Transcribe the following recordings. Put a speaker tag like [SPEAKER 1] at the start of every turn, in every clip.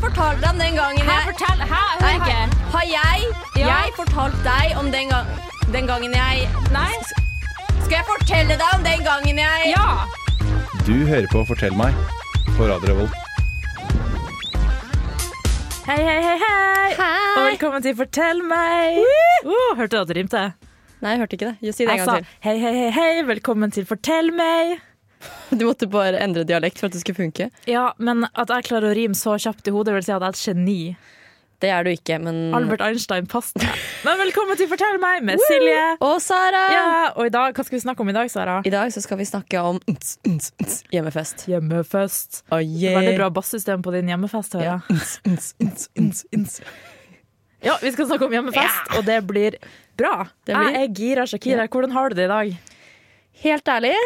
[SPEAKER 1] fortalte om den gangen
[SPEAKER 2] Her,
[SPEAKER 1] jeg
[SPEAKER 2] fortell. Her,
[SPEAKER 1] Nei,
[SPEAKER 2] hører ikke.
[SPEAKER 1] har, har jeg,
[SPEAKER 2] Ja.
[SPEAKER 1] jeg fortalt deg om den, gang, den gangen jeg
[SPEAKER 2] Nei?
[SPEAKER 1] Skal jeg fortelle deg om den gangen jeg
[SPEAKER 2] Ja.
[SPEAKER 3] Du hører på Fortell meg på Radio Revolt.
[SPEAKER 4] Hei, hei, hei, hei! Og
[SPEAKER 1] Hei!
[SPEAKER 4] velkommen til Fortell meg! Uh, hørte du at det rimte?
[SPEAKER 1] Nei, jeg hørte ikke det. Si
[SPEAKER 4] Jeg sa hei, hei, hei, hei, velkommen til Fortell meg!
[SPEAKER 1] til. Du måtte bare endre dialekt for at det skulle funke.
[SPEAKER 4] Ja, men at jeg klarer å rime så kjapt i hodet, vil si at jeg er et geni.
[SPEAKER 1] Det er du ikke, men
[SPEAKER 4] Albert Einstein passet meg. Men velkommen til Fortell meg med Silje!
[SPEAKER 1] Og Sara!
[SPEAKER 4] Ja, og i dag, hva skal vi snakke om i dag, Sara?
[SPEAKER 1] I dag så skal vi snakke om ns, ns, ns, hjemmefest.
[SPEAKER 4] Hjemmefest. Eh.
[SPEAKER 1] Oh, yeah.
[SPEAKER 4] Veldig bra bassystem på din hjemmefest, hører
[SPEAKER 1] Ja.
[SPEAKER 4] jeg. Ja, vi skal snakke om hjemmefest, og det blir bra.
[SPEAKER 1] Det blir-
[SPEAKER 4] Jeg er gira, Shakira. Hvordan har du det i dag?
[SPEAKER 1] Helt ærlig,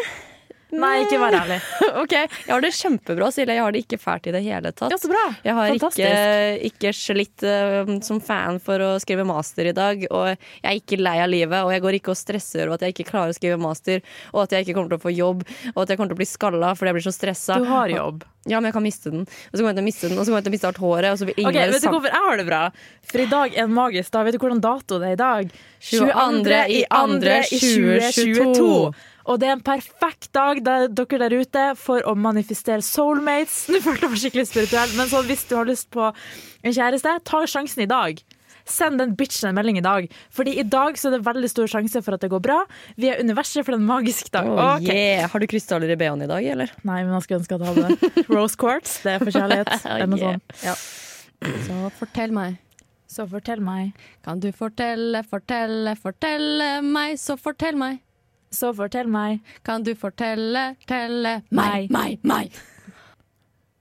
[SPEAKER 4] Nei, ikke vær ærlig.
[SPEAKER 1] ok, jeg har det kjempebra, Silje. Jeg har det ikke fælt i det hele tatt.
[SPEAKER 4] Ja, så bra.
[SPEAKER 1] Jeg har
[SPEAKER 4] Fantastisk.
[SPEAKER 1] ikke, ikke slitt eh, som fan for å skrive master i dag, og jeg er ikke lei av livet, og jeg går ikke og stresser over at jeg ikke klarer å skrive master, og at jeg ikke kommer til å få jobb, og at jeg kommer til å bli skalla fordi jeg blir så stressa.
[SPEAKER 4] Du har jobb.
[SPEAKER 1] Ja, men jeg kan miste den. Og så kommer jeg til å miste den, og så kommer jeg til å miste alt håret, og så vil ingen
[SPEAKER 4] Ok,
[SPEAKER 1] være
[SPEAKER 4] Vet du
[SPEAKER 1] sam-
[SPEAKER 4] hvorfor jeg har det bra? For i dag er en magisk dag. Vet du hvordan dato det er i dag?
[SPEAKER 1] 22. i andre 2022.
[SPEAKER 4] Og det er en perfekt dag der dere der ute for å manifestere soulmates. Nå følte jeg meg skikkelig spirituell, men sånn, hvis du har lyst på en kjæreste, ta sjansen i dag. Send den bitchen en melding i dag. Fordi i dag så er det veldig stor sjanse for at det går bra. Vi er universet for en magisk dag.
[SPEAKER 1] Å,
[SPEAKER 4] Ok.
[SPEAKER 1] yeah. Har du krystaller i BH-en i dag, eller?
[SPEAKER 4] Nei, men jeg skulle ønske at jeg hadde det. Rose quartz, det er for kjærlighet. Det er noe
[SPEAKER 1] Yeah.
[SPEAKER 4] sånt. Ja.
[SPEAKER 5] Så fortell meg.
[SPEAKER 4] Så fortell meg.
[SPEAKER 5] Kan du fortelle, fortelle, fortelle meg, så fortell meg.
[SPEAKER 4] Så fortell meg.
[SPEAKER 5] Kan du fortelle, telle meg,
[SPEAKER 4] Meg.
[SPEAKER 5] meg, meg.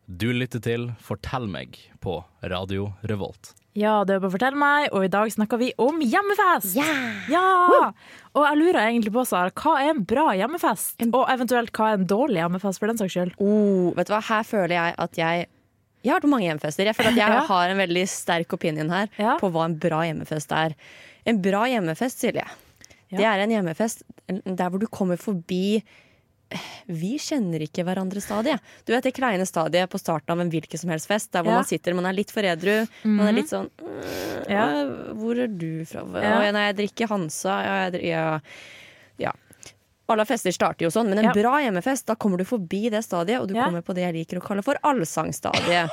[SPEAKER 6] Du lytter til Fortell meg på Radio Revolt.
[SPEAKER 4] Ja, det er på Fortell meg, og i dag snakker vi om hjemmefest! Ja! Og jeg lurer egentlig på, Sara, hva er en bra hjemmefest? Og eventuelt hva er en dårlig hjemmefest, for den saks skyld?
[SPEAKER 1] Oh, vet du hva, her føler jeg at jeg Jeg har vært på mange hjemmefester. Jeg føler at jeg
[SPEAKER 4] Ja.
[SPEAKER 1] har en veldig sterk opinion her
[SPEAKER 4] Ja.
[SPEAKER 1] på hva en bra hjemmefest er. En bra hjemmefest, Silje, det er en hjemmefest der hvor du kommer forbi vi kjenner ikke hverandre-stadiet. Du vet det kleine stadiet på starten av en hvilken som helst fest, der hvor
[SPEAKER 4] Ja. Mhm.
[SPEAKER 1] man sitter, man er litt for edru, man er litt sånn
[SPEAKER 4] Ja.
[SPEAKER 1] «Åh, Hvor er du fra? Å,
[SPEAKER 4] Ja.
[SPEAKER 1] ja, nei, jeg drikker Hansa. Ja, jeg dri- ja. ja. Alle fester starter jo sånn, men en
[SPEAKER 4] Ja.
[SPEAKER 1] bra hjemmefest, da kommer du forbi det stadiet, og du
[SPEAKER 4] Ja.
[SPEAKER 1] kommer på det jeg liker å kalle for allsangstadiet.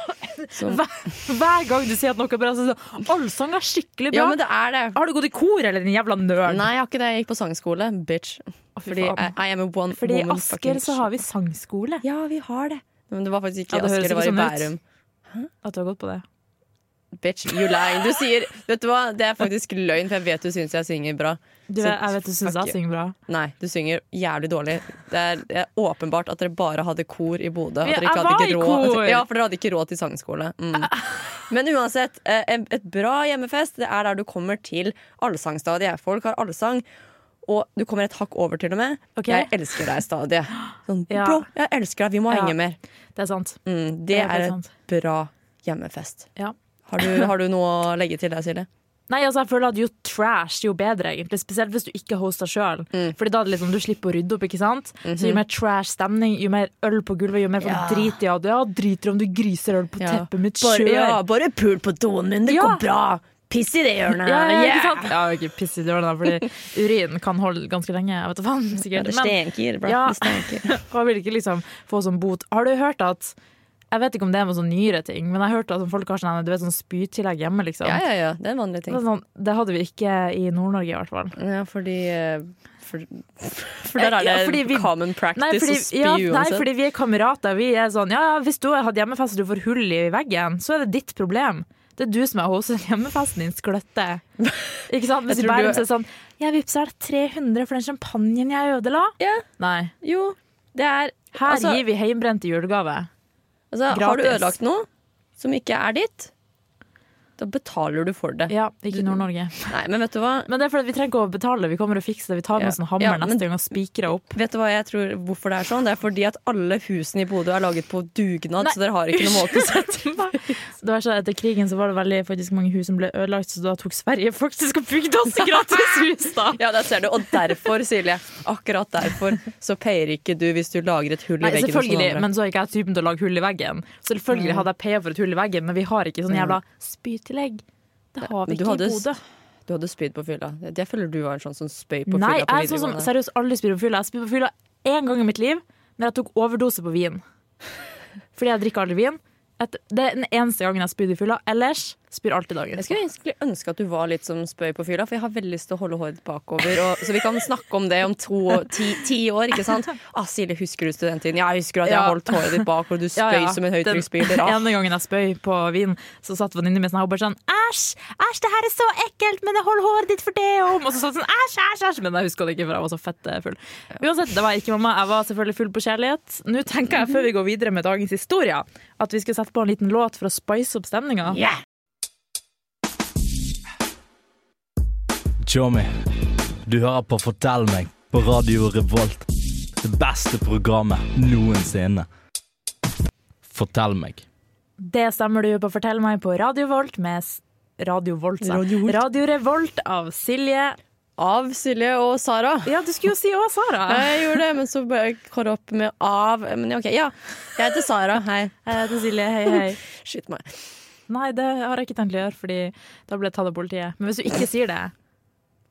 [SPEAKER 1] Som,
[SPEAKER 4] Hver, hver gang du sier at noe er bra, så er det sånn Allsang er skikkelig bra!
[SPEAKER 1] ja, men det er det.
[SPEAKER 4] Har du gått i kor, eller din jævla nerd?
[SPEAKER 1] Nei, jeg har ikke det. Jeg gikk på sangskole, bitch.
[SPEAKER 4] fy
[SPEAKER 1] Fordi I,
[SPEAKER 4] faen.
[SPEAKER 1] I am a one
[SPEAKER 4] Fordi i
[SPEAKER 1] woman
[SPEAKER 4] Asker så har vi sangskole.
[SPEAKER 1] Ja, vi har det. Men det var faktisk ikke
[SPEAKER 4] Ja,
[SPEAKER 1] i
[SPEAKER 4] det høres
[SPEAKER 1] Asker, det var i
[SPEAKER 4] ikke sånn ut.
[SPEAKER 1] Bærum.
[SPEAKER 4] At du har gått på det.
[SPEAKER 1] Bitch, you lying. Du sier Vet du hva, det er faktisk løgn, for jeg vet du syns jeg synger bra.
[SPEAKER 4] Du,
[SPEAKER 1] Så
[SPEAKER 4] jeg, jeg vet du syns
[SPEAKER 1] fuck
[SPEAKER 4] jeg
[SPEAKER 1] you.
[SPEAKER 4] synger bra.
[SPEAKER 1] Nei, du synger jævlig dårlig. Det er, det er åpenbart at dere bare hadde kor i Bodø. At
[SPEAKER 4] Ja,
[SPEAKER 1] dere ikke
[SPEAKER 4] jeg
[SPEAKER 1] hadde
[SPEAKER 4] var
[SPEAKER 1] ikke
[SPEAKER 4] i
[SPEAKER 1] råd,
[SPEAKER 4] kor.
[SPEAKER 1] at, ja, for dere hadde ikke råd til sangskole. Mm. Men uansett, eh, en- et bra hjemmefest Det er der du kommer til allsangstadiet. Folk har allsang. Og du kommer et hakk over, til og med.
[SPEAKER 4] Ok.
[SPEAKER 1] Jeg elsker deg-stadiet. Sånn,
[SPEAKER 4] Ja.
[SPEAKER 1] Bro, jeg elsker deg, vi må
[SPEAKER 4] Ja.
[SPEAKER 1] henge mer.
[SPEAKER 4] Det er sant.
[SPEAKER 1] Mm,
[SPEAKER 4] Det
[SPEAKER 1] det
[SPEAKER 4] er
[SPEAKER 1] er
[SPEAKER 4] sant.
[SPEAKER 1] et bra hjemmefest.
[SPEAKER 4] Ja.
[SPEAKER 1] Har du, har du noe å legge til der, Silje?
[SPEAKER 4] Nei, altså jeg føler at jo trash, jo bedre egentlig. Spesielt hvis du ikke hoster sjøl.
[SPEAKER 1] Mm.
[SPEAKER 4] Fordi da er det liksom, du slipper å rydde opp, ikke sant?
[SPEAKER 1] Mhm.
[SPEAKER 4] Så jo mer trash stemning, jo mer øl på gulvet, jo mer folk driter i at ja, driter om du griser øl på
[SPEAKER 1] Ja.
[SPEAKER 4] teppet mitt
[SPEAKER 1] Bare,
[SPEAKER 4] sjøl.
[SPEAKER 1] ja, bare pul på doen min, det
[SPEAKER 4] Ja.
[SPEAKER 1] går bra! Piss i det hjørnet!
[SPEAKER 4] Ja, ja,
[SPEAKER 1] yeah!
[SPEAKER 4] ikke sant? Ja, ikke piss i døren, da, fordi urin kan holde ganske lenge. Jeg vet da faen, sikkert.
[SPEAKER 1] Det
[SPEAKER 4] Men
[SPEAKER 1] stenker, bra.
[SPEAKER 4] Ja.
[SPEAKER 1] Det stenker.
[SPEAKER 4] man vil ikke liksom få sånn bot. Har du hørt at Jeg vet ikke om det er noen sånn nyere ting, men jeg har hørt at folk har sånn, du vet, sånn spytillegg hjemme, liksom.
[SPEAKER 1] Ja, ja, ja. Det er en vanlig
[SPEAKER 4] Det, er
[SPEAKER 1] ting.
[SPEAKER 4] sånn, det hadde vi ikke i Nord-Norge, i hvert fall.
[SPEAKER 1] Ja, fordi eh, For, for der er det
[SPEAKER 4] Ja, fordi vi-
[SPEAKER 1] common practice
[SPEAKER 4] Nei, fordi,
[SPEAKER 1] å spy
[SPEAKER 4] ja, nei,
[SPEAKER 1] uansett.
[SPEAKER 4] fordi vi er kamerater. Vi er sånn, ja, ja, Hvis du har hatt hjemmefest og du får hull i veggen, så er det ditt problem. Det er du som har hostet hjemmefesten din, skløtte. Ikke sant? Hvis
[SPEAKER 1] Jeg
[SPEAKER 4] i
[SPEAKER 1] tror
[SPEAKER 4] Bærum
[SPEAKER 1] du-
[SPEAKER 4] så er det sånn Jeg vippser deg 300 for den champagnen jeg ødela.
[SPEAKER 1] Ja.
[SPEAKER 4] Nei.
[SPEAKER 1] Jo, det er
[SPEAKER 4] Her
[SPEAKER 1] Altså-
[SPEAKER 4] gir vi heimbrent i julegave.
[SPEAKER 1] altså, Har du
[SPEAKER 4] Gratis.
[SPEAKER 1] ødelagt noe som ikke er ditt, Da betaler du for det.
[SPEAKER 4] Ja, ikke Nord-Norge.
[SPEAKER 1] Nei, men vet du hva?
[SPEAKER 4] Men det er fordi vi trenger ikke å betale, vi kommer og fikser det. Vi tar med oss en hammer
[SPEAKER 1] Ja, men-
[SPEAKER 4] neste gang og spikrer opp.
[SPEAKER 1] Vet du hva jeg tror hvorfor det er sånn? Det er fordi at alle husene i Bodø er laget på dugnad,
[SPEAKER 4] Nei,
[SPEAKER 1] så dere har ikke noe måte å sette
[SPEAKER 4] Det var sånn, at Etter krigen så var det veldig faktisk mange hus som ble ødelagt, så da tok Sverige faktisk og bygde oss gratis hus, da.
[SPEAKER 1] Ja, der ser du. Og derfor, Silje, akkurat derfor så peier ikke du hvis du lager et hull
[SPEAKER 4] Nei,
[SPEAKER 1] i veggen. hos noen
[SPEAKER 4] selvfølgelig,
[SPEAKER 1] andre.
[SPEAKER 4] men så er ikke jeg typen til å lage hull i veggen. Selvfølgelig hadde jeg paya for et hull i veggen, men vi har ikke sånn jævla spytillegg. Det har
[SPEAKER 1] Men
[SPEAKER 4] vi
[SPEAKER 1] du
[SPEAKER 4] ikke
[SPEAKER 1] hadde
[SPEAKER 4] i Bodø.
[SPEAKER 1] Du hadde spyd på fylla. Jeg føler du var en sånn som spøy på
[SPEAKER 4] Nei,
[SPEAKER 1] fylla
[SPEAKER 4] jeg
[SPEAKER 1] på
[SPEAKER 4] er sånn som
[SPEAKER 1] videregående.
[SPEAKER 4] seriøst aldri spyr på fylla. Jeg spyr på fylla én gang i mitt liv, når jeg tok overdose på vin. Fordi jeg drikker aldri vin. Et, det er den eneste gangen jeg spyr i fylla. Ellers spyr alltid dagen.
[SPEAKER 1] jeg skulle egentlig ønske at du var litt som spøy på fylla, for jeg har veldig lyst til å holde håret bakover. Og, så vi kan snakke om det om to, ti, ti år, ikke sant? Ah, Silje, husker du studenttiden? Ja, jeg husker at jeg
[SPEAKER 4] Ja.
[SPEAKER 1] har holdt håret ditt bak, og du spøy
[SPEAKER 4] Ja, ja.
[SPEAKER 1] som en høytrykksspyler.
[SPEAKER 4] Den
[SPEAKER 1] Ah.
[SPEAKER 4] ene gangen jeg spøy på vin, så satt venninnen min sånn her og bare sånn Æsj, æsj, det her er så ekkelt, men jeg holder håret ditt for det om. Og så satt hun sånn æsj, æsj, æsj. Men jeg huska det ikke, for jeg var så fett eh, full. Uansett, det var ikke mamma. Jeg var selvfølgelig full på kjærlighet. Nå tenker jeg, før vi går videre med dagens historie, at vi skulle sette på en liten låt for å spice opp stemninga.
[SPEAKER 6] Tjommi, du hører på Fortell meg på Radio Revolt. Det beste programmet noensinne. Fortell meg.
[SPEAKER 4] Det stemmer du på Fortell meg på Radio Volt med s- Radio Volt, sa jeg.
[SPEAKER 1] Radio Volt.
[SPEAKER 4] Radio Revolt av Silje.
[SPEAKER 1] Av Silje og Sara.
[SPEAKER 4] Ja, du skulle jo si òg, Sara.
[SPEAKER 1] Jeg gjorde det, men så bare kåret opp med av. Men ja, ok, ja. Jeg heter Sara. Hei.
[SPEAKER 4] Jeg heter Silje, hei hei.
[SPEAKER 1] Skyt meg.
[SPEAKER 4] Nei, det har jeg ikke tenkt å gjøre, fordi da blir jeg tatt av politiet. Men hvis du ikke sier det,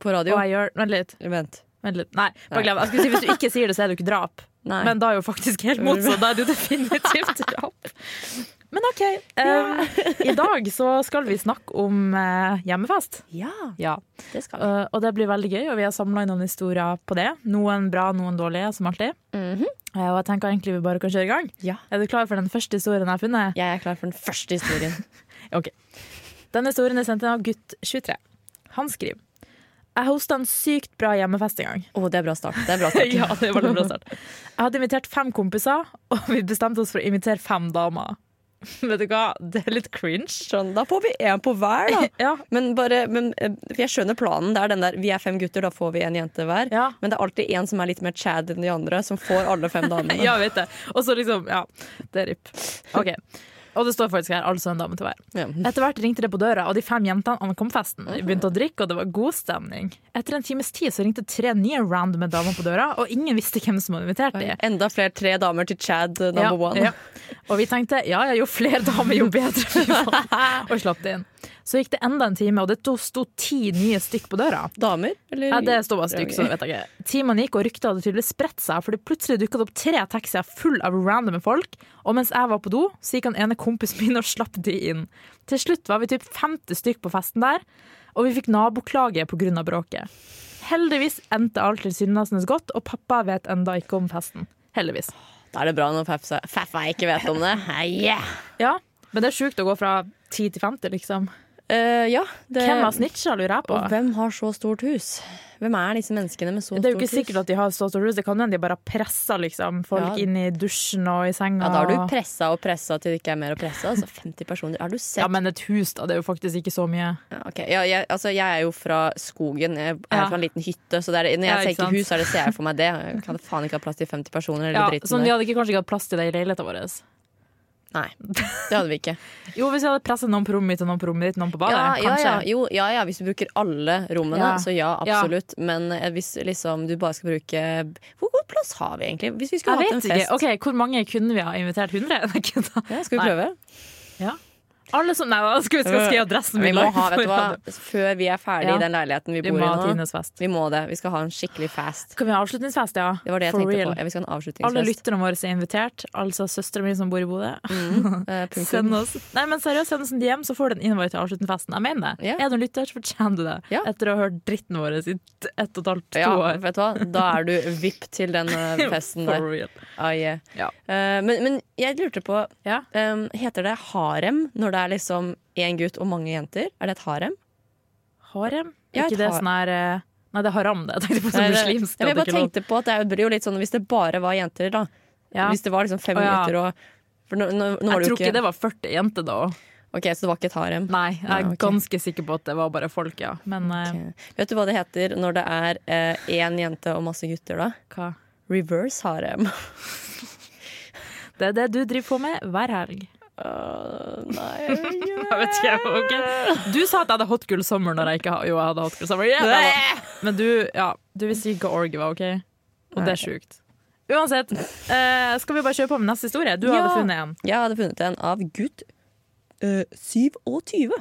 [SPEAKER 1] På
[SPEAKER 4] og
[SPEAKER 1] radio.
[SPEAKER 4] jeg gjør Vent litt.
[SPEAKER 1] Vent.
[SPEAKER 4] Vent litt. Nei,
[SPEAKER 1] Nei.
[SPEAKER 4] bare glem det. Jeg skulle si hvis du ikke sier det, så er det jo ikke drap.
[SPEAKER 1] Nei.
[SPEAKER 4] Men da er jo faktisk helt motsatt. Da er det jo definitivt drap. Men OK. eh, I dag så skal vi snakke om eh, hjemmefest.
[SPEAKER 1] ja,
[SPEAKER 4] Ja.
[SPEAKER 1] det skal vi.
[SPEAKER 4] Uh, og det blir veldig gøy, og vi har samla inn noen historier på det. Noen bra, noen dårlige, som alltid. Uh, og jeg tenker egentlig vi bare kan kjøre i gang.
[SPEAKER 1] Mhm. Ja.
[SPEAKER 4] Er du klar for den første historien jeg har funnet?
[SPEAKER 1] Jeg er klar for den første historien.
[SPEAKER 4] Denne historien er sendt inn av gutt 23. Han skriver Jeg hosta en sykt bra hjemmefest en gang.
[SPEAKER 1] Å, det er bra start. Det er bra start.
[SPEAKER 4] ja, det var en bra start. Jeg hadde invitert fem kompiser, og vi bestemte oss for å invitere fem damer. Vet du hva, det er litt cringe.
[SPEAKER 1] Sånn, da får vi én på hver, da.
[SPEAKER 4] Ja,
[SPEAKER 1] Men bare, men, eh, for jeg skjønner planen. Det er den der vi er fem gutter, da får vi én jente hver.
[SPEAKER 4] Ja.
[SPEAKER 1] Men det er alltid én som er litt mer Chad enn de andre, som får alle fem damene.
[SPEAKER 4] Ja, jeg vet det. Og så liksom, ja, det er ripp. Ok. Og det står faktisk her, altså en dame til hver.
[SPEAKER 1] Ja.
[SPEAKER 4] Etter hvert ringte det på døra, og de fem jentene ankom festen. Vi begynte å drikke, og det var god stemning. Etter en times tid så ringte tre nye randome damer på døra, og ingen visste hvem som hadde invitert dem.
[SPEAKER 1] Enda flere tre damer til Chad eh, number one.
[SPEAKER 4] Ja. Og vi tenkte ja, ja, jo flere damer, jo bedre. fy faen. og slapp det inn. Så gikk det enda en time, og det to- sto ti nye stykk på døra.
[SPEAKER 1] Damer? Eller?
[SPEAKER 4] Ja, det står bare stykk, så det vet jeg ikke. Timene gikk, og ryktet hadde tydeligvis spredt seg, fordi plutselig dukket det opp tre taxier full av randome folk, og mens jeg var på do, så gikk han ene kompisen min og slapp de inn. Til slutt var vi typ 50 stykk på festen der, og vi fikk naboklage på grunn av bråket. Heldigvis endte alt til synlasnes godt, og pappa vet enda ikke om festen. Heldigvis.
[SPEAKER 1] Da er det bra når Faffa Faffa ikke vet om det. Hei, yeah.
[SPEAKER 4] Ja, men det er sjukt å gå fra 10 til 50, liksom.
[SPEAKER 1] Eh, ja, det,
[SPEAKER 4] Hvem har snitcha, lurer jeg på.
[SPEAKER 1] Og hvem har så stort hus? Hvem er disse menneskene med så stort hus?
[SPEAKER 4] Det er jo ikke sikkert at de har så stort hus, det kan hende de bare har pressa liksom, folk
[SPEAKER 1] Ja.
[SPEAKER 4] inn i dusjen og i senga.
[SPEAKER 1] ja, Da har
[SPEAKER 4] og-
[SPEAKER 1] du pressa og pressa til det ikke er mer å presse. Altså 50 personer. Har du sett
[SPEAKER 4] Ja, men et hus, da. Det er jo faktisk ikke så mye.
[SPEAKER 1] Ja, ok. ja, jeg, altså, jeg er jo fra skogen. Jeg er
[SPEAKER 4] Ja.
[SPEAKER 1] fra en liten hytte. Så det er, når jeg
[SPEAKER 4] Ja, ikke
[SPEAKER 1] tenker
[SPEAKER 4] sant?
[SPEAKER 1] hus, så er det, ser jeg for meg det. Jeg kan faen ikke ha plass til 50 personer. Eller
[SPEAKER 4] Ja,
[SPEAKER 1] dritten
[SPEAKER 4] sånn, vi
[SPEAKER 1] der.
[SPEAKER 4] hadde ikke, kanskje ikke hatt plass til det i leiligheten vår.
[SPEAKER 1] Nei, det hadde vi ikke.
[SPEAKER 4] Jo, hvis vi hadde presset noen på rommet mitt og noen på rommet ditt, noen på badet,
[SPEAKER 1] Ja, ja,
[SPEAKER 4] kanskje.
[SPEAKER 1] ja, jo, ja, ja, hvis du bruker alle rommene,
[SPEAKER 4] Ja.
[SPEAKER 1] så ja,
[SPEAKER 4] Ja.
[SPEAKER 1] absolutt. Men eh, hvis liksom, du bare skal bruke Hvor god plass har vi egentlig? Hvis vi skulle
[SPEAKER 4] Jeg
[SPEAKER 1] hatt en
[SPEAKER 4] vet
[SPEAKER 1] fest
[SPEAKER 4] ikke. Ok, Hvor mange kunne vi ha invitert? 100? Nei, ikke da.
[SPEAKER 1] ja, Skal vi
[SPEAKER 4] Nei.
[SPEAKER 1] prøve?
[SPEAKER 4] Alle som Nei, da skal vi skal skrive adressen
[SPEAKER 1] Vi
[SPEAKER 4] min
[SPEAKER 1] må
[SPEAKER 4] live
[SPEAKER 1] ha, vet
[SPEAKER 4] på
[SPEAKER 1] du hva,
[SPEAKER 4] radio.
[SPEAKER 1] før vi er ferdig
[SPEAKER 4] Ja.
[SPEAKER 1] i den leiligheten vi
[SPEAKER 4] Vi
[SPEAKER 1] bor
[SPEAKER 4] må
[SPEAKER 1] i
[SPEAKER 4] ha
[SPEAKER 1] nå.
[SPEAKER 4] Tines fest.
[SPEAKER 1] Vi må det. Vi skal ha en skikkelig fast.
[SPEAKER 4] Kan vi ha avslutningsfest, ja?
[SPEAKER 1] Det var det jeg
[SPEAKER 4] For
[SPEAKER 1] tenkte
[SPEAKER 4] real.
[SPEAKER 1] på. Ja, vi skal ha en
[SPEAKER 4] Alle
[SPEAKER 1] avslutningsfest.
[SPEAKER 4] lytterne våre er invitert, altså søstera mi som bor i Bodø.
[SPEAKER 1] Eh, punktum.
[SPEAKER 4] Send oss Nei, men seriøst, send oss en DM, så får du en invite til avslutningsfesten. Jeg mener det.
[SPEAKER 1] Ja.
[SPEAKER 4] Er du en lytter, så fortjener du det.
[SPEAKER 1] Ja.
[SPEAKER 4] Etter å ha hørt dritten vår i ett og et halvt, to
[SPEAKER 1] Ja,
[SPEAKER 4] år.
[SPEAKER 1] vet du hva? Da er du vipp til den eh, festen
[SPEAKER 4] For
[SPEAKER 1] der.
[SPEAKER 4] real.
[SPEAKER 1] Ai, eh.
[SPEAKER 4] Ja.
[SPEAKER 1] Eh, men, men jeg lurte på
[SPEAKER 4] Ja.
[SPEAKER 1] em, Heter det harem når det er liksom én gutt og mange jenter? Er det et harem?
[SPEAKER 4] Harem?
[SPEAKER 1] Ja,
[SPEAKER 4] Er ikke
[SPEAKER 1] et
[SPEAKER 4] det
[SPEAKER 1] har-
[SPEAKER 4] sånn her eh, Nei, det er haram, det. Jeg tenkte på
[SPEAKER 1] Nei,
[SPEAKER 4] sånn
[SPEAKER 1] det-
[SPEAKER 4] muslimsk.
[SPEAKER 1] Nei, men
[SPEAKER 4] at det
[SPEAKER 1] jeg bare
[SPEAKER 4] ikke er lov.
[SPEAKER 1] tenkte på at det blir jo litt sånn Hvis det bare var jenter, da.
[SPEAKER 4] Ja.
[SPEAKER 1] Hvis det var liksom fem
[SPEAKER 4] Å, ja.
[SPEAKER 1] gutter og for nå, nå, nå var
[SPEAKER 4] Jeg
[SPEAKER 1] det jo
[SPEAKER 4] tror ikke det var 40 jenter da.
[SPEAKER 1] Ok, Så det var ikke et harem?
[SPEAKER 4] Nei, jeg er
[SPEAKER 1] Ja, ok.
[SPEAKER 4] ganske sikker på at det var bare folk, ja. Men eh,
[SPEAKER 1] Ok. Vet du hva det heter når det er eh, én jente og masse gutter, da?
[SPEAKER 4] hva?
[SPEAKER 1] Reverse harem.
[SPEAKER 4] Det er det du driver på med hver helg.
[SPEAKER 1] Øh, nei, jeg vet ikke.
[SPEAKER 4] Jeg vet ikke, ok. Du sa at jeg hadde hot girl summer når jeg ikke har Jo, jeg hadde hot girl summer. Yeah, det var- Men du, ja, du visste ikke hva org var, OK? Og det er sjukt. Uansett, eh, skal vi bare kjøre på med neste historie? Du
[SPEAKER 1] Ja.
[SPEAKER 4] hadde funnet en.
[SPEAKER 1] Jeg hadde funnet en av gutt eh, 27.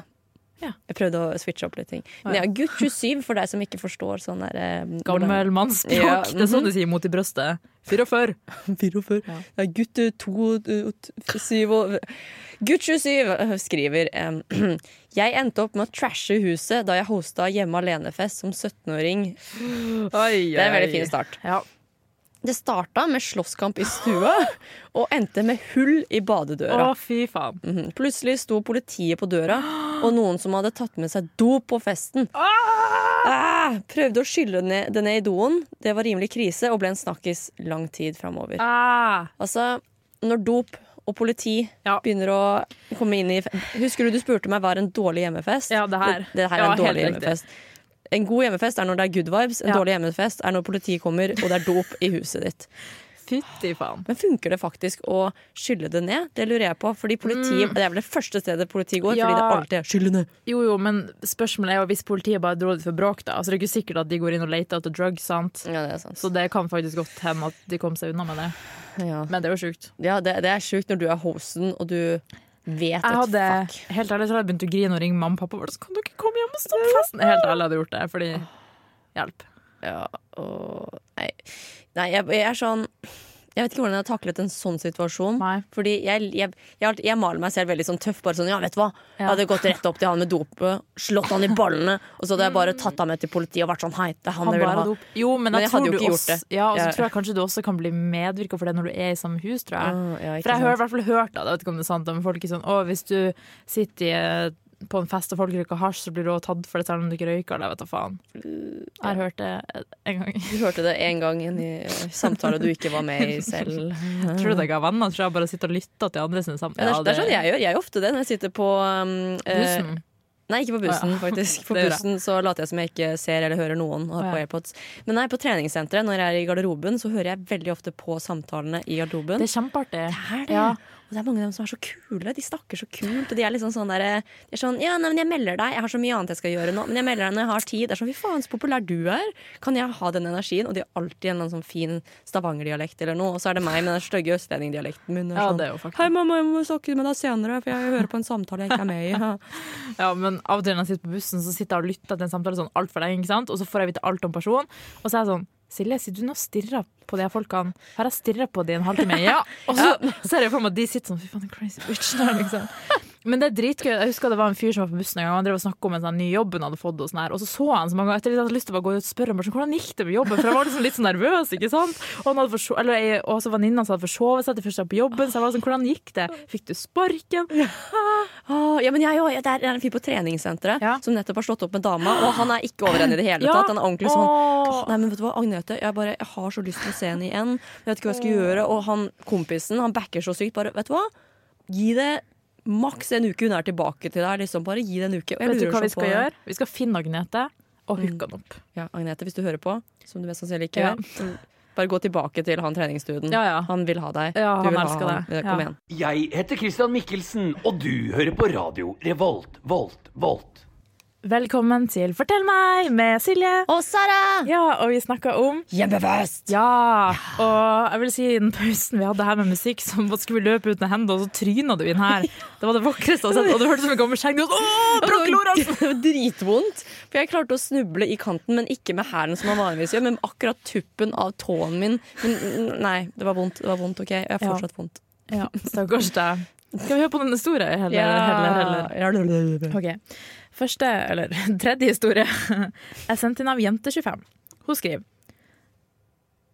[SPEAKER 4] Ja.
[SPEAKER 1] Jeg prøvde å switche opp litt ting. Men ja, gutt 27, for deg som ikke forstår sånn der eh, hvordan-
[SPEAKER 4] Gammel mannsspråk.
[SPEAKER 1] Ja, mhm.
[SPEAKER 4] Det er sånn du sier mot i brøstet. 44.
[SPEAKER 1] Fire og før. Det er gutt eh, to og eh, og t- syv og Gutt 27 eh, skriver em, Jeg endte opp med å trashe huset da jeg hosta Hjemme alene-fest som 17-åring.
[SPEAKER 4] Oi,
[SPEAKER 1] Det er en veldig fin start.
[SPEAKER 4] Ja.
[SPEAKER 1] Det starta med slåsskamp i stua og endte med hull i badedøra.
[SPEAKER 4] Å, fy faen.
[SPEAKER 1] Mhm. Plutselig sto politiet på døra, og noen som hadde tatt med seg dop på festen. Ah, prøvde å skylle ned- det ned i doen. Det var rimelig krise og ble en snakkis lang tid framover.
[SPEAKER 4] Ah.
[SPEAKER 1] Altså, når dop og politi
[SPEAKER 4] Ja.
[SPEAKER 1] begynner å komme inn i fe- Husker du du spurte meg hva er en dårlig hjemmefest?
[SPEAKER 4] Ja, det her.
[SPEAKER 1] Det, det her er
[SPEAKER 4] Ja,
[SPEAKER 1] en dårlig
[SPEAKER 4] helt riktig.
[SPEAKER 1] hjemmefest. En god hjemmefest er når det er good vibes. En
[SPEAKER 4] Ja.
[SPEAKER 1] dårlig hjemmefest er når politiet kommer og det er dop i huset ditt.
[SPEAKER 4] Fytti faen.
[SPEAKER 1] Men funker det faktisk å skylle det ned? Det lurer jeg på. Fordi politiet, Det er vel det første stedet politiet går,
[SPEAKER 4] Ja.
[SPEAKER 1] fordi det alltid er 'skylle ned'.
[SPEAKER 4] Jo, jo, men spørsmålet er jo hvis politiet bare dro det for bråk, da. Altså, det er ikke sikkert at de går inn og leter etter drugs, sant?
[SPEAKER 1] Ja, det er sant.
[SPEAKER 4] Så det kan faktisk godt hende at de kom seg unna med det.
[SPEAKER 1] ja.
[SPEAKER 4] Men det er jo sjukt.
[SPEAKER 1] ja, det, det er sjukt når du er hosten, og du vet
[SPEAKER 4] Jeg
[SPEAKER 1] at
[SPEAKER 4] hadde,
[SPEAKER 1] fuck
[SPEAKER 4] helt ærlig, så hadde jeg begynt å grine og ringe mamma og pappa. og Bare, så kan dere komme hjem og stoppe festen? Helt ærlig, jeg hadde gjort det, fordi Hjelp.
[SPEAKER 1] ja, og, Nei, nei jeg, jeg er sånn Jeg vet ikke hvordan jeg har taklet en sånn situasjon.
[SPEAKER 4] Nei.
[SPEAKER 1] Fordi jeg, jeg, jeg, har- jeg maler meg selv veldig sånn tøff. Bare sånn, ja, vet du hva? Jeg
[SPEAKER 4] Ja.
[SPEAKER 1] hadde gått rett opp til han med dopet, slått han i ballene, og så hadde jeg bare tatt ham med til politiet og vært sånn Hei, det er Mm. han,
[SPEAKER 4] Han
[SPEAKER 1] jeg vil
[SPEAKER 4] bare
[SPEAKER 1] ha.
[SPEAKER 4] hadde opp. Jo, men,
[SPEAKER 1] Men
[SPEAKER 4] jeg,
[SPEAKER 1] jeg hadde
[SPEAKER 4] tror
[SPEAKER 1] jo
[SPEAKER 4] du
[SPEAKER 1] ikke gjort
[SPEAKER 4] også,
[SPEAKER 1] det.
[SPEAKER 4] Ja, og så
[SPEAKER 1] Ja.
[SPEAKER 4] tror jeg kanskje du også kan bli medvirka for det når du er i samme hus, tror jeg.
[SPEAKER 1] Ah, ja, ikke
[SPEAKER 4] For jeg
[SPEAKER 1] sant.
[SPEAKER 4] har i hvert fall hørt da, jeg vet ikke om det er sant, da, men folk er sånn Å, hvis du sitter i, eh, på en fest og folk røyker hasj, så blir du også tatt for det selv om du ikke røyker det, vet du faen. Jeg har hørt det eh, en gang.
[SPEAKER 1] Du hørte det én gang i en eh, samtale du ikke var med i selv.
[SPEAKER 4] Tror du det ikke har venner? Tror jeg bare sitter og lytter til andre sine
[SPEAKER 1] Ja,
[SPEAKER 4] samtaler.
[SPEAKER 1] det, er, det er sånn jeg gjør. Jeg gjør ofte det når jeg sitter på um, eh,
[SPEAKER 4] Bussen.
[SPEAKER 1] Nei, ikke på bussen,
[SPEAKER 4] Å, ja.
[SPEAKER 1] faktisk. På
[SPEAKER 4] Det gjør jeg.
[SPEAKER 1] bussen så later jeg som jeg ikke ser eller hører noen. Og har
[SPEAKER 4] Å,
[SPEAKER 1] på
[SPEAKER 4] ja.
[SPEAKER 1] AirPods. Men nei, på treningssenteret, når jeg er i garderoben, så hører jeg veldig ofte på samtalene i garderoben.
[SPEAKER 4] Det er kjempeartig.
[SPEAKER 1] er det.
[SPEAKER 4] Ja.
[SPEAKER 1] Og det er mange av dem som er så kule. De snakker så kult. Og de er liksom sånn der, de er sånn Ja, nei, men jeg melder deg. Jeg har så mye annet jeg skal gjøre nå. Men jeg melder deg når jeg har tid. Det er sånn Fy faen, så populær du er. Kan jeg ha den energien? Og de har alltid en eller annen sånn fin Stavanger-dialekt eller noe. Og så er det meg med den stygge østlendingdialekten min. Det er
[SPEAKER 4] Ja,
[SPEAKER 1] sånn,
[SPEAKER 4] det er jo faktisk-
[SPEAKER 1] Hei, mamma, jeg må snakke med deg senere, for jeg hører på en samtale jeg ikke er med i.
[SPEAKER 4] Ja, men av og til når jeg sitter på bussen, så sitter jeg og lytter til en samtale sånn altfor lenge, ikke sant? og så får jeg vite alt om personen, og så er jeg sånn Silje, sitter du nå og stirrer på de her folkene? Har jeg stirret på de en halvtime? Ja! Og så ser jeg for meg at de sitter sånn, fy faen, den crazy bitch der, liksom. Men det er dritgøy. Jeg husker det var en fyr som var på bussen en gang, og han drev og snakket om en sånn ny jobb han hadde fått, og sånn her, og så så han så mange ganger etter det, jeg hadde lyst til å bare gå ut og spørre ham bare sånn, hvordan gikk det med jobben, for jeg var liksom litt sånn nervøs, ikke sant? Og han hadde forso- eller jeg- og så venninnen hans hadde forsovet seg til første dag på jobben, så jeg var sånn, hvordan gikk det? Fikk du sparken?
[SPEAKER 1] Åh, Ah, ja, men jeg, òg. det er en fyr på treningssenteret
[SPEAKER 4] Ja.
[SPEAKER 1] som nettopp har slått opp med dama, og han er ikke over henne i det hele
[SPEAKER 4] Ja.
[SPEAKER 1] tatt. Han er ordentlig sånn
[SPEAKER 4] Åh.
[SPEAKER 1] Nei, men vet du hva, Agnete, jeg, bare, jeg har så lyst til å se henne igjen. Jeg vet ikke hva jeg skal gjøre. Og han kompisen han backer så sykt. Bare, vet du hva? Gi det maks en uke hun er tilbake til deg. Liksom. Bare gi det en uke. Og jeg
[SPEAKER 4] Vet du
[SPEAKER 1] lurer
[SPEAKER 4] hva
[SPEAKER 1] så
[SPEAKER 4] vi skal
[SPEAKER 1] på- Mm.
[SPEAKER 4] gjøre? Vi skal finne Agnete og hooke han opp.
[SPEAKER 1] Ja, Agnete, hvis du hører på, som du mest sannsynlig ikke
[SPEAKER 4] Ja.
[SPEAKER 1] gjør, bare gå tilbake til han treningsstuden.
[SPEAKER 4] Ja, ja.
[SPEAKER 1] Han vil ha deg.
[SPEAKER 4] Ja,
[SPEAKER 1] du
[SPEAKER 4] han
[SPEAKER 1] vil ha
[SPEAKER 4] elsker
[SPEAKER 1] han.
[SPEAKER 4] deg.
[SPEAKER 1] Kom
[SPEAKER 4] Ja.
[SPEAKER 1] igjen.
[SPEAKER 2] Jeg heter Christian Mikkelsen, og du hører på radio Revolt, Volt, Volt.
[SPEAKER 4] Velkommen til Fortell meg med Silje.
[SPEAKER 1] Og Sara!
[SPEAKER 4] Ja, og vi snakker om
[SPEAKER 1] Hjemmefest!
[SPEAKER 4] Ja! Og jeg vil si i den pausen vi hadde her med musikk, så skulle vi løpe uten hendene, og så tryna du inn her. Det var det vakreste jeg har sett, og det hørtes ut som en gammel skjegg. Du var sånn, «Åh, Broch Lorentzen!»
[SPEAKER 1] Det var dritvondt. For jeg klarte å snuble i kanten, men ikke med hælen som man vanligvis gjør, men akkurat tuppen av tåen min. Men, nei, det var vondt. Det var vondt, OK? Jeg har
[SPEAKER 4] Ja.
[SPEAKER 1] fortsatt vondt.
[SPEAKER 4] Ja, stakkars deg. Skal vi høre på den historien, heller? heller, heller?
[SPEAKER 1] heller.
[SPEAKER 4] Ok. Første, eller tredje historie er sendt inn av Jente25. Hun skriver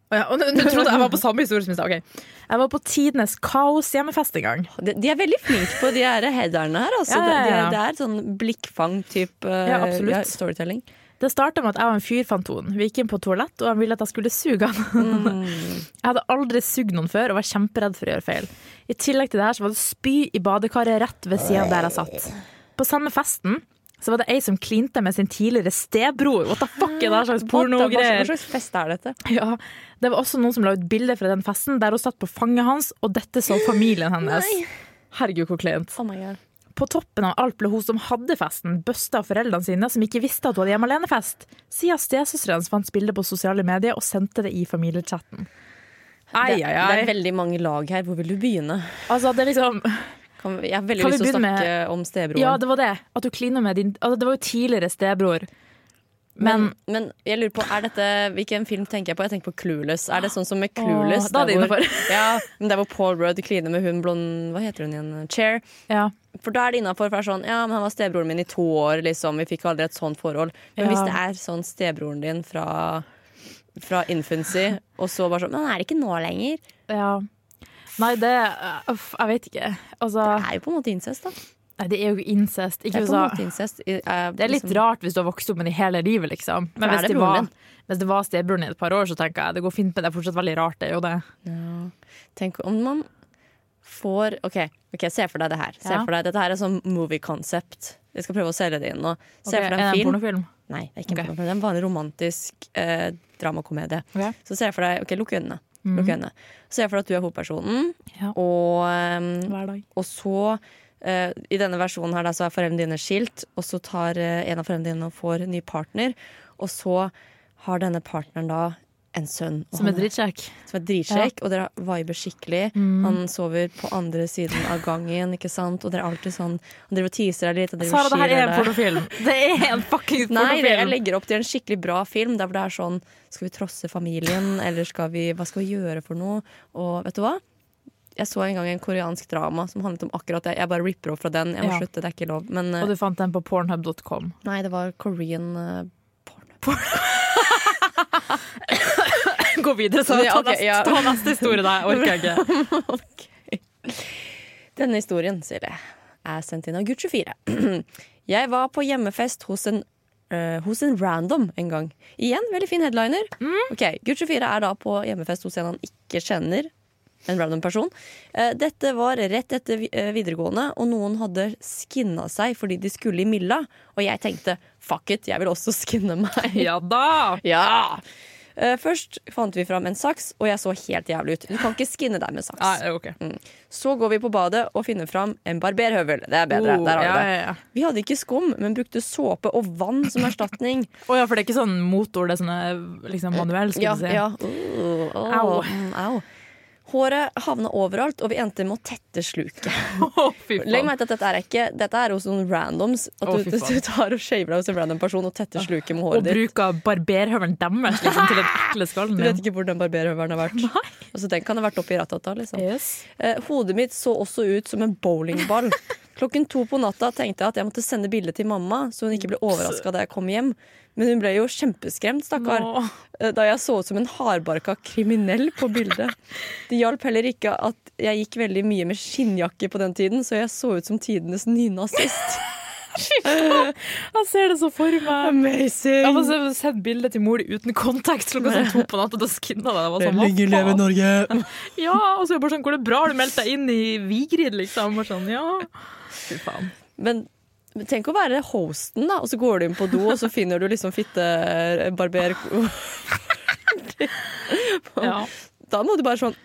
[SPEAKER 4] Å ja, og nå nå trodde jeg jeg var på samme historie som i stad. ok. Jeg var på tidenes kaos-hjemmefest en gang.
[SPEAKER 1] De, de er veldig flinke på de her headerne her. Altså.
[SPEAKER 4] Ja, ja, ja.
[SPEAKER 1] Det, det, er, det er sånn blikkfang-type
[SPEAKER 4] Ja, absolutt.
[SPEAKER 1] storytelling.
[SPEAKER 4] Det starta med at jeg og en fyr fant henne. Vi gikk inn på toalett, og han ville at jeg skulle suge han. Mm. Jeg hadde aldri sugd noen før og var kjemperedd for å gjøre feil. I tillegg til det her så var det spy i badekaret rett ved siden av der jeg satt. På samme festen så var det ei som klinte med sin tidligere stebror. What the fuck er det her slags
[SPEAKER 1] Hva
[SPEAKER 4] pornogreier?
[SPEAKER 1] slags fest er dette?
[SPEAKER 4] Ja, det var også noen som la ut bilder fra den festen der hun satt på fanget hans, og dette så familien hennes. Herregud, hvor kleint.
[SPEAKER 1] Oh my god.
[SPEAKER 4] På toppen av alt ble hun som hadde festen, bøsta av foreldrene sine, som ikke visste at hun hadde hjemme alene-fest, siden stesøsteren hennes fant bildet på sosiale medier og sendte det i familiechatten. Ai,
[SPEAKER 1] Det,
[SPEAKER 4] ai,
[SPEAKER 1] det er
[SPEAKER 4] ai.
[SPEAKER 1] veldig mange lag her. Hvor vil du begynne?
[SPEAKER 4] Altså, det er liksom
[SPEAKER 1] Kan, vi- jeg har veldig
[SPEAKER 4] Kan vi
[SPEAKER 1] lyst til å
[SPEAKER 4] begynne
[SPEAKER 1] snakke
[SPEAKER 4] med-
[SPEAKER 1] om stebroren.
[SPEAKER 4] Ja, det var det. At du klina med din altså, Det var jo tidligere stebror. Men,
[SPEAKER 1] men jeg lurer på, er dette, hvilken film tenker jeg på? Jeg tenker på Clueless. Er det sånn som med
[SPEAKER 4] Åh,
[SPEAKER 1] Clueless?
[SPEAKER 4] da er det
[SPEAKER 1] der hvor-
[SPEAKER 4] innenfor.
[SPEAKER 1] ja, men der hvor Paul Rudd kliner med hun blond Hva heter hun igjen? Chair.
[SPEAKER 4] ja.
[SPEAKER 1] For da er det innafor. For det er sånn, ja, men han var stebroren min i to år, liksom. Vi fikk aldri et sånt forhold. Men
[SPEAKER 4] Ja.
[SPEAKER 1] hvis det er sånn stebroren din fra, fra infancy, og så bare sånn Men han er ikke nå lenger.
[SPEAKER 4] ja. Nei, det Uff, jeg vet ikke. Altså
[SPEAKER 1] Det er jo på en måte incest, da.
[SPEAKER 4] Nei, det er jo incest.
[SPEAKER 1] Det
[SPEAKER 4] Ikke
[SPEAKER 1] er, på en
[SPEAKER 4] så-
[SPEAKER 1] måte incest. I-
[SPEAKER 4] Det er litt
[SPEAKER 1] liksom-
[SPEAKER 4] rart hvis du har vokst opp med det hele livet, liksom. Men
[SPEAKER 1] For er
[SPEAKER 4] hvis
[SPEAKER 1] det
[SPEAKER 4] det,
[SPEAKER 1] broren
[SPEAKER 4] var,
[SPEAKER 1] din?
[SPEAKER 4] hvis det var stebroren i et par år, så tenker jeg det går fint, men det er fortsatt veldig rart, det er jo det.
[SPEAKER 1] Tenk om man får OK, ok, se for deg det her. Se
[SPEAKER 4] Ja.
[SPEAKER 1] for deg, Dette her er sånn movie concept. Jeg skal prøve å selge det inn nå. Se
[SPEAKER 4] Ok,
[SPEAKER 1] for
[SPEAKER 4] er
[SPEAKER 1] deg
[SPEAKER 4] det
[SPEAKER 1] en film.
[SPEAKER 4] pornofilm?
[SPEAKER 1] Nei, det er ikke en
[SPEAKER 4] Ok.
[SPEAKER 1] pornofilm. Det er en vanlig romantisk eh, dramakomedie.
[SPEAKER 4] Ok. Mhm.
[SPEAKER 1] Så se for deg OK, lukk øynene. Lukk øynene. Se for deg at du er hovedpersonen,
[SPEAKER 4] Ja.
[SPEAKER 1] og, ehm,
[SPEAKER 4] Hver dag.
[SPEAKER 1] og så eh, I denne versjonen her da, så er foreldrene dine skilt, og så tar eh, en av foreldrene dine og får ny partner, og så har denne partneren da en sønn. og
[SPEAKER 4] Som
[SPEAKER 1] han
[SPEAKER 4] er drittkjekk.
[SPEAKER 1] som er dritsjekk, og dere viber skikkelig.
[SPEAKER 4] Mm.
[SPEAKER 1] Han sover på andre siden av gangen, ikke sant? og dere er alltid sånn Han driver og teaser deg litt. Og driver
[SPEAKER 4] Sara,
[SPEAKER 1] og
[SPEAKER 4] det her er
[SPEAKER 1] skyler
[SPEAKER 4] en
[SPEAKER 1] deg.
[SPEAKER 4] pornofilm. Det er en fucking
[SPEAKER 1] Nei, det- jeg
[SPEAKER 4] pornofilm.
[SPEAKER 1] legger opp til en skikkelig bra film der hvor det er sånn Skal vi trosse familien, eller skal vi, hva skal vi gjøre for noe? Og vet du hva? Jeg så en gang en koreansk drama som handlet om akkurat det. Jeg bare ripper opp fra den. Jeg må
[SPEAKER 4] Ja.
[SPEAKER 1] slutte, det er ikke lov. Men eh,
[SPEAKER 4] Og du fant den på pornhub.com.
[SPEAKER 1] nei, det var Korean eh,
[SPEAKER 4] Gå videre, Sara.
[SPEAKER 1] Ja,
[SPEAKER 4] Ta,
[SPEAKER 1] ok,
[SPEAKER 4] neste,
[SPEAKER 1] ja.
[SPEAKER 4] ta neste historie, da. Jeg orker ikke.
[SPEAKER 1] Denne historien, sier det, er sendt inn av Gutt 24. Jeg var på hjemmefest hos en, eh, hos en random en gang. Igjen, veldig fin headliner.
[SPEAKER 4] Mm.
[SPEAKER 1] Ok, Gutt 24 er da på hjemmefest hos en han ikke kjenner. En random person. Eh, Dette var rett etter vi- eh, videregående, og noen hadde skinna seg fordi de skulle i Milla. Og jeg tenkte fuck it, jeg vil også skinne meg.
[SPEAKER 4] Ja da!
[SPEAKER 1] Ja! Eh, Først fant vi fram en saks, og jeg så helt jævlig ut. Du kan ikke skinne deg med saks.
[SPEAKER 4] Nei, ok.
[SPEAKER 1] Så går vi på badet og finner fram en barberhøvel. Det er bedre.
[SPEAKER 4] Oh,
[SPEAKER 1] Der har
[SPEAKER 4] ja,
[SPEAKER 1] vi det.
[SPEAKER 4] ja, ja.
[SPEAKER 1] Vi hadde ikke skum, men brukte såpe og vann som erstatning.
[SPEAKER 4] Å ja, for det er ikke sånn motor, det er sånn liksom, manuell, skal
[SPEAKER 1] ja,
[SPEAKER 4] du si.
[SPEAKER 1] ja. Uh, uh,
[SPEAKER 4] Au.
[SPEAKER 1] mm, au. Håret havna overalt, og vi endte med å tette sluket.
[SPEAKER 4] Å, fy
[SPEAKER 1] mm. Legg
[SPEAKER 4] faen.
[SPEAKER 1] merke til at dette er ikke Dette er hos noen randoms. At
[SPEAKER 4] Å,
[SPEAKER 1] du,
[SPEAKER 4] fy faen.
[SPEAKER 1] du tar og shaver deg hos en random person og tetter sluket med
[SPEAKER 4] Og
[SPEAKER 1] håret ditt.
[SPEAKER 4] bruk av barberhøvelen deres liksom, til den ekle skallen
[SPEAKER 1] Du vet
[SPEAKER 4] din.
[SPEAKER 1] ikke hvor den barberhøvelen har vært. Altså, den kan ha vært oppi Ratata. Liksom.
[SPEAKER 4] Yes.
[SPEAKER 1] Eh, Hodet mitt så også ut som en bowlingball. Klokken to på natta tenkte jeg at jeg måtte sende bilde til mamma, så hun ikke ble overraska da jeg kom hjem. Men hun ble jo kjempeskremt, stakkar,
[SPEAKER 4] Nå.
[SPEAKER 1] eh, da jeg så ut som en hardbarka kriminell på bildet. Det hjalp heller ikke at jeg gikk veldig mye med skinnjakke på den tiden, så jeg så ut som tidenes nynazist.
[SPEAKER 4] Jeg ser det så for meg.
[SPEAKER 1] Amazing!
[SPEAKER 4] Jeg har bare sett bildet til mor di uten kontekst klokka sånn to på natta. Da skinna det. Jeg var sånn,
[SPEAKER 6] Lenge
[SPEAKER 4] hva
[SPEAKER 6] leve
[SPEAKER 4] faen?
[SPEAKER 6] Norge!
[SPEAKER 4] Ja, og så er det bare sånn, Går det bra? Har du meldt deg inn i Vigrid, liksom? Bare sånn, ja. Fy faen.
[SPEAKER 1] Men men tenk å være hosten, da, og så går du inn på do, og så finner du liksom fittebarber...
[SPEAKER 4] Ja.
[SPEAKER 1] Da må du bare sånn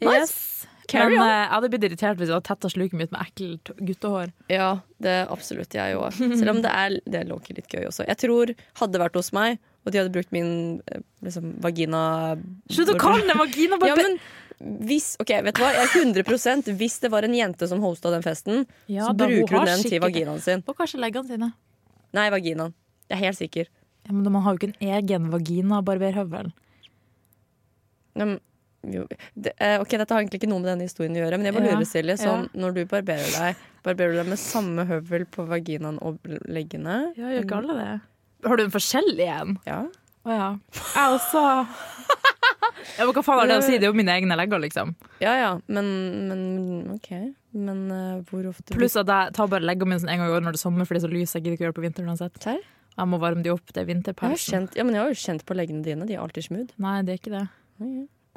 [SPEAKER 4] Yes.
[SPEAKER 1] Carry
[SPEAKER 4] Men
[SPEAKER 1] on.
[SPEAKER 4] eh, jeg hadde blitt irritert hvis jeg hadde tetta sluket mitt med ekkelt t- guttehår.
[SPEAKER 1] Ja, det er absolutt jeg òg. Selv om det er, det er low-key litt gøy også. Jeg tror hadde det vært hos meg, og de hadde brukt min eh, liksom, vagina
[SPEAKER 4] Slutt å kalle det vagina!
[SPEAKER 1] Ja,
[SPEAKER 4] Bare
[SPEAKER 1] men hvis, ok, vet du hva? Jeg er 100 Hvis det var en jente som hosta den festen,
[SPEAKER 4] Ja,
[SPEAKER 1] så
[SPEAKER 4] da, hun
[SPEAKER 1] bruker
[SPEAKER 4] har
[SPEAKER 1] hun den til
[SPEAKER 4] sikkert-
[SPEAKER 1] vaginaen sin.
[SPEAKER 4] Og kanskje leggene sine.
[SPEAKER 1] Nei, vaginaen. Jeg er helt sikker.
[SPEAKER 4] Ja, men Man har jo ikke en egen vagina-barberhøvel.
[SPEAKER 1] Men, jo, det, eh, ok, Dette har egentlig ikke noe med denne historien å gjøre, men jeg bare
[SPEAKER 4] Ja,
[SPEAKER 1] lurer, Silje. Sånn,
[SPEAKER 4] ja.
[SPEAKER 1] Når du barberer deg, barberer du deg med samme høvel på vaginaen og leggene?
[SPEAKER 4] Ja, gjør ikke alle det? Har du en forskjellig en?
[SPEAKER 1] Ja.
[SPEAKER 4] Å ja. Jeg også ja, men Hva faen har det å si? Det er jo mine egne legger, liksom.
[SPEAKER 1] Ja ja, men, men OK. Men eh, hvor ofte
[SPEAKER 4] Pluss at jeg tar bare leggene mine sånn en gang i året når det er sommer, fordi det er så lys. Jeg gidder ikke gjøre det på vinteren uansett.
[SPEAKER 1] Serr?
[SPEAKER 4] Jeg må varme de opp, det er
[SPEAKER 1] Jeg har,
[SPEAKER 4] vinterpausen.
[SPEAKER 1] kjent, ja, men jeg har jo kjent på leggene dine. De er alltid smooth.
[SPEAKER 4] Nei, det er ikke det.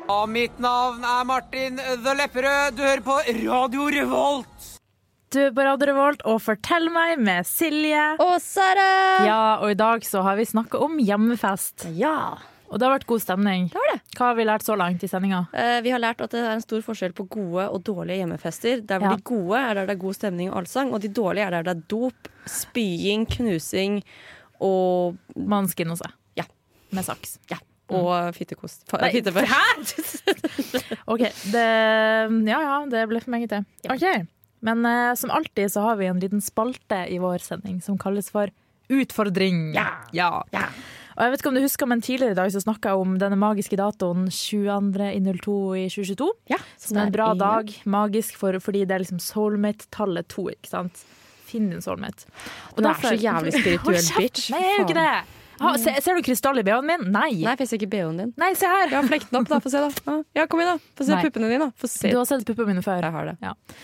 [SPEAKER 7] Og mitt navn er Martin The Lepperød. Du hører på Radio Revolt.
[SPEAKER 4] Du er på Radio Revolt og Fortell meg med Silje.
[SPEAKER 1] Å, Sara! Ja.
[SPEAKER 4] Ja, og i dag så har vi snakka om hjemmefest. Og det har vært god stemning.
[SPEAKER 1] Det var det.
[SPEAKER 4] Hva har vi lært så langt i sendinga?
[SPEAKER 1] Eh, Vi har lært at det er en stor forskjell på gode og dårlige hjemmefester. Der hvor
[SPEAKER 4] Ja.
[SPEAKER 1] de gode er der det er god stemning og allsang, og de dårlige er der det er dop, spying, knusing og,
[SPEAKER 4] Man skinner seg.
[SPEAKER 1] Ja.
[SPEAKER 4] Med saks.
[SPEAKER 1] ja, og fittekost. Fa-
[SPEAKER 4] Nei,
[SPEAKER 1] fittefør.
[SPEAKER 4] OK. Det, ja ja, det ble for meget, det. OK. Men eh, som alltid så har vi en liten spalte i vår sending som kalles for Utfordring. Ja. Og jeg vet ikke om du husker, men Tidligere i dag så snakka jeg om denne magiske datoen 22.02 i 2022.
[SPEAKER 1] Ja,
[SPEAKER 4] Som er en bra dag. Magisk for, fordi det er liksom soulmate-tallet to. ikke sant? Finn din soulmate.
[SPEAKER 1] Du er så jævlig spirituell
[SPEAKER 4] Hold kjeft!
[SPEAKER 1] bitch.
[SPEAKER 4] Nei, jeg er jo ikke det. Ha, se, ser du krystall i BH-en min? Nei.
[SPEAKER 1] Nei, for jeg ser ikke BH-en din.
[SPEAKER 4] Nei, se her.
[SPEAKER 1] Ja, flekk den opp, da. Få se, da. Ja, kom igjen, da. Få se
[SPEAKER 4] Nei.
[SPEAKER 1] puppene dine, da. Få se.
[SPEAKER 4] Du har sett puppene mine før.
[SPEAKER 1] Jeg har det.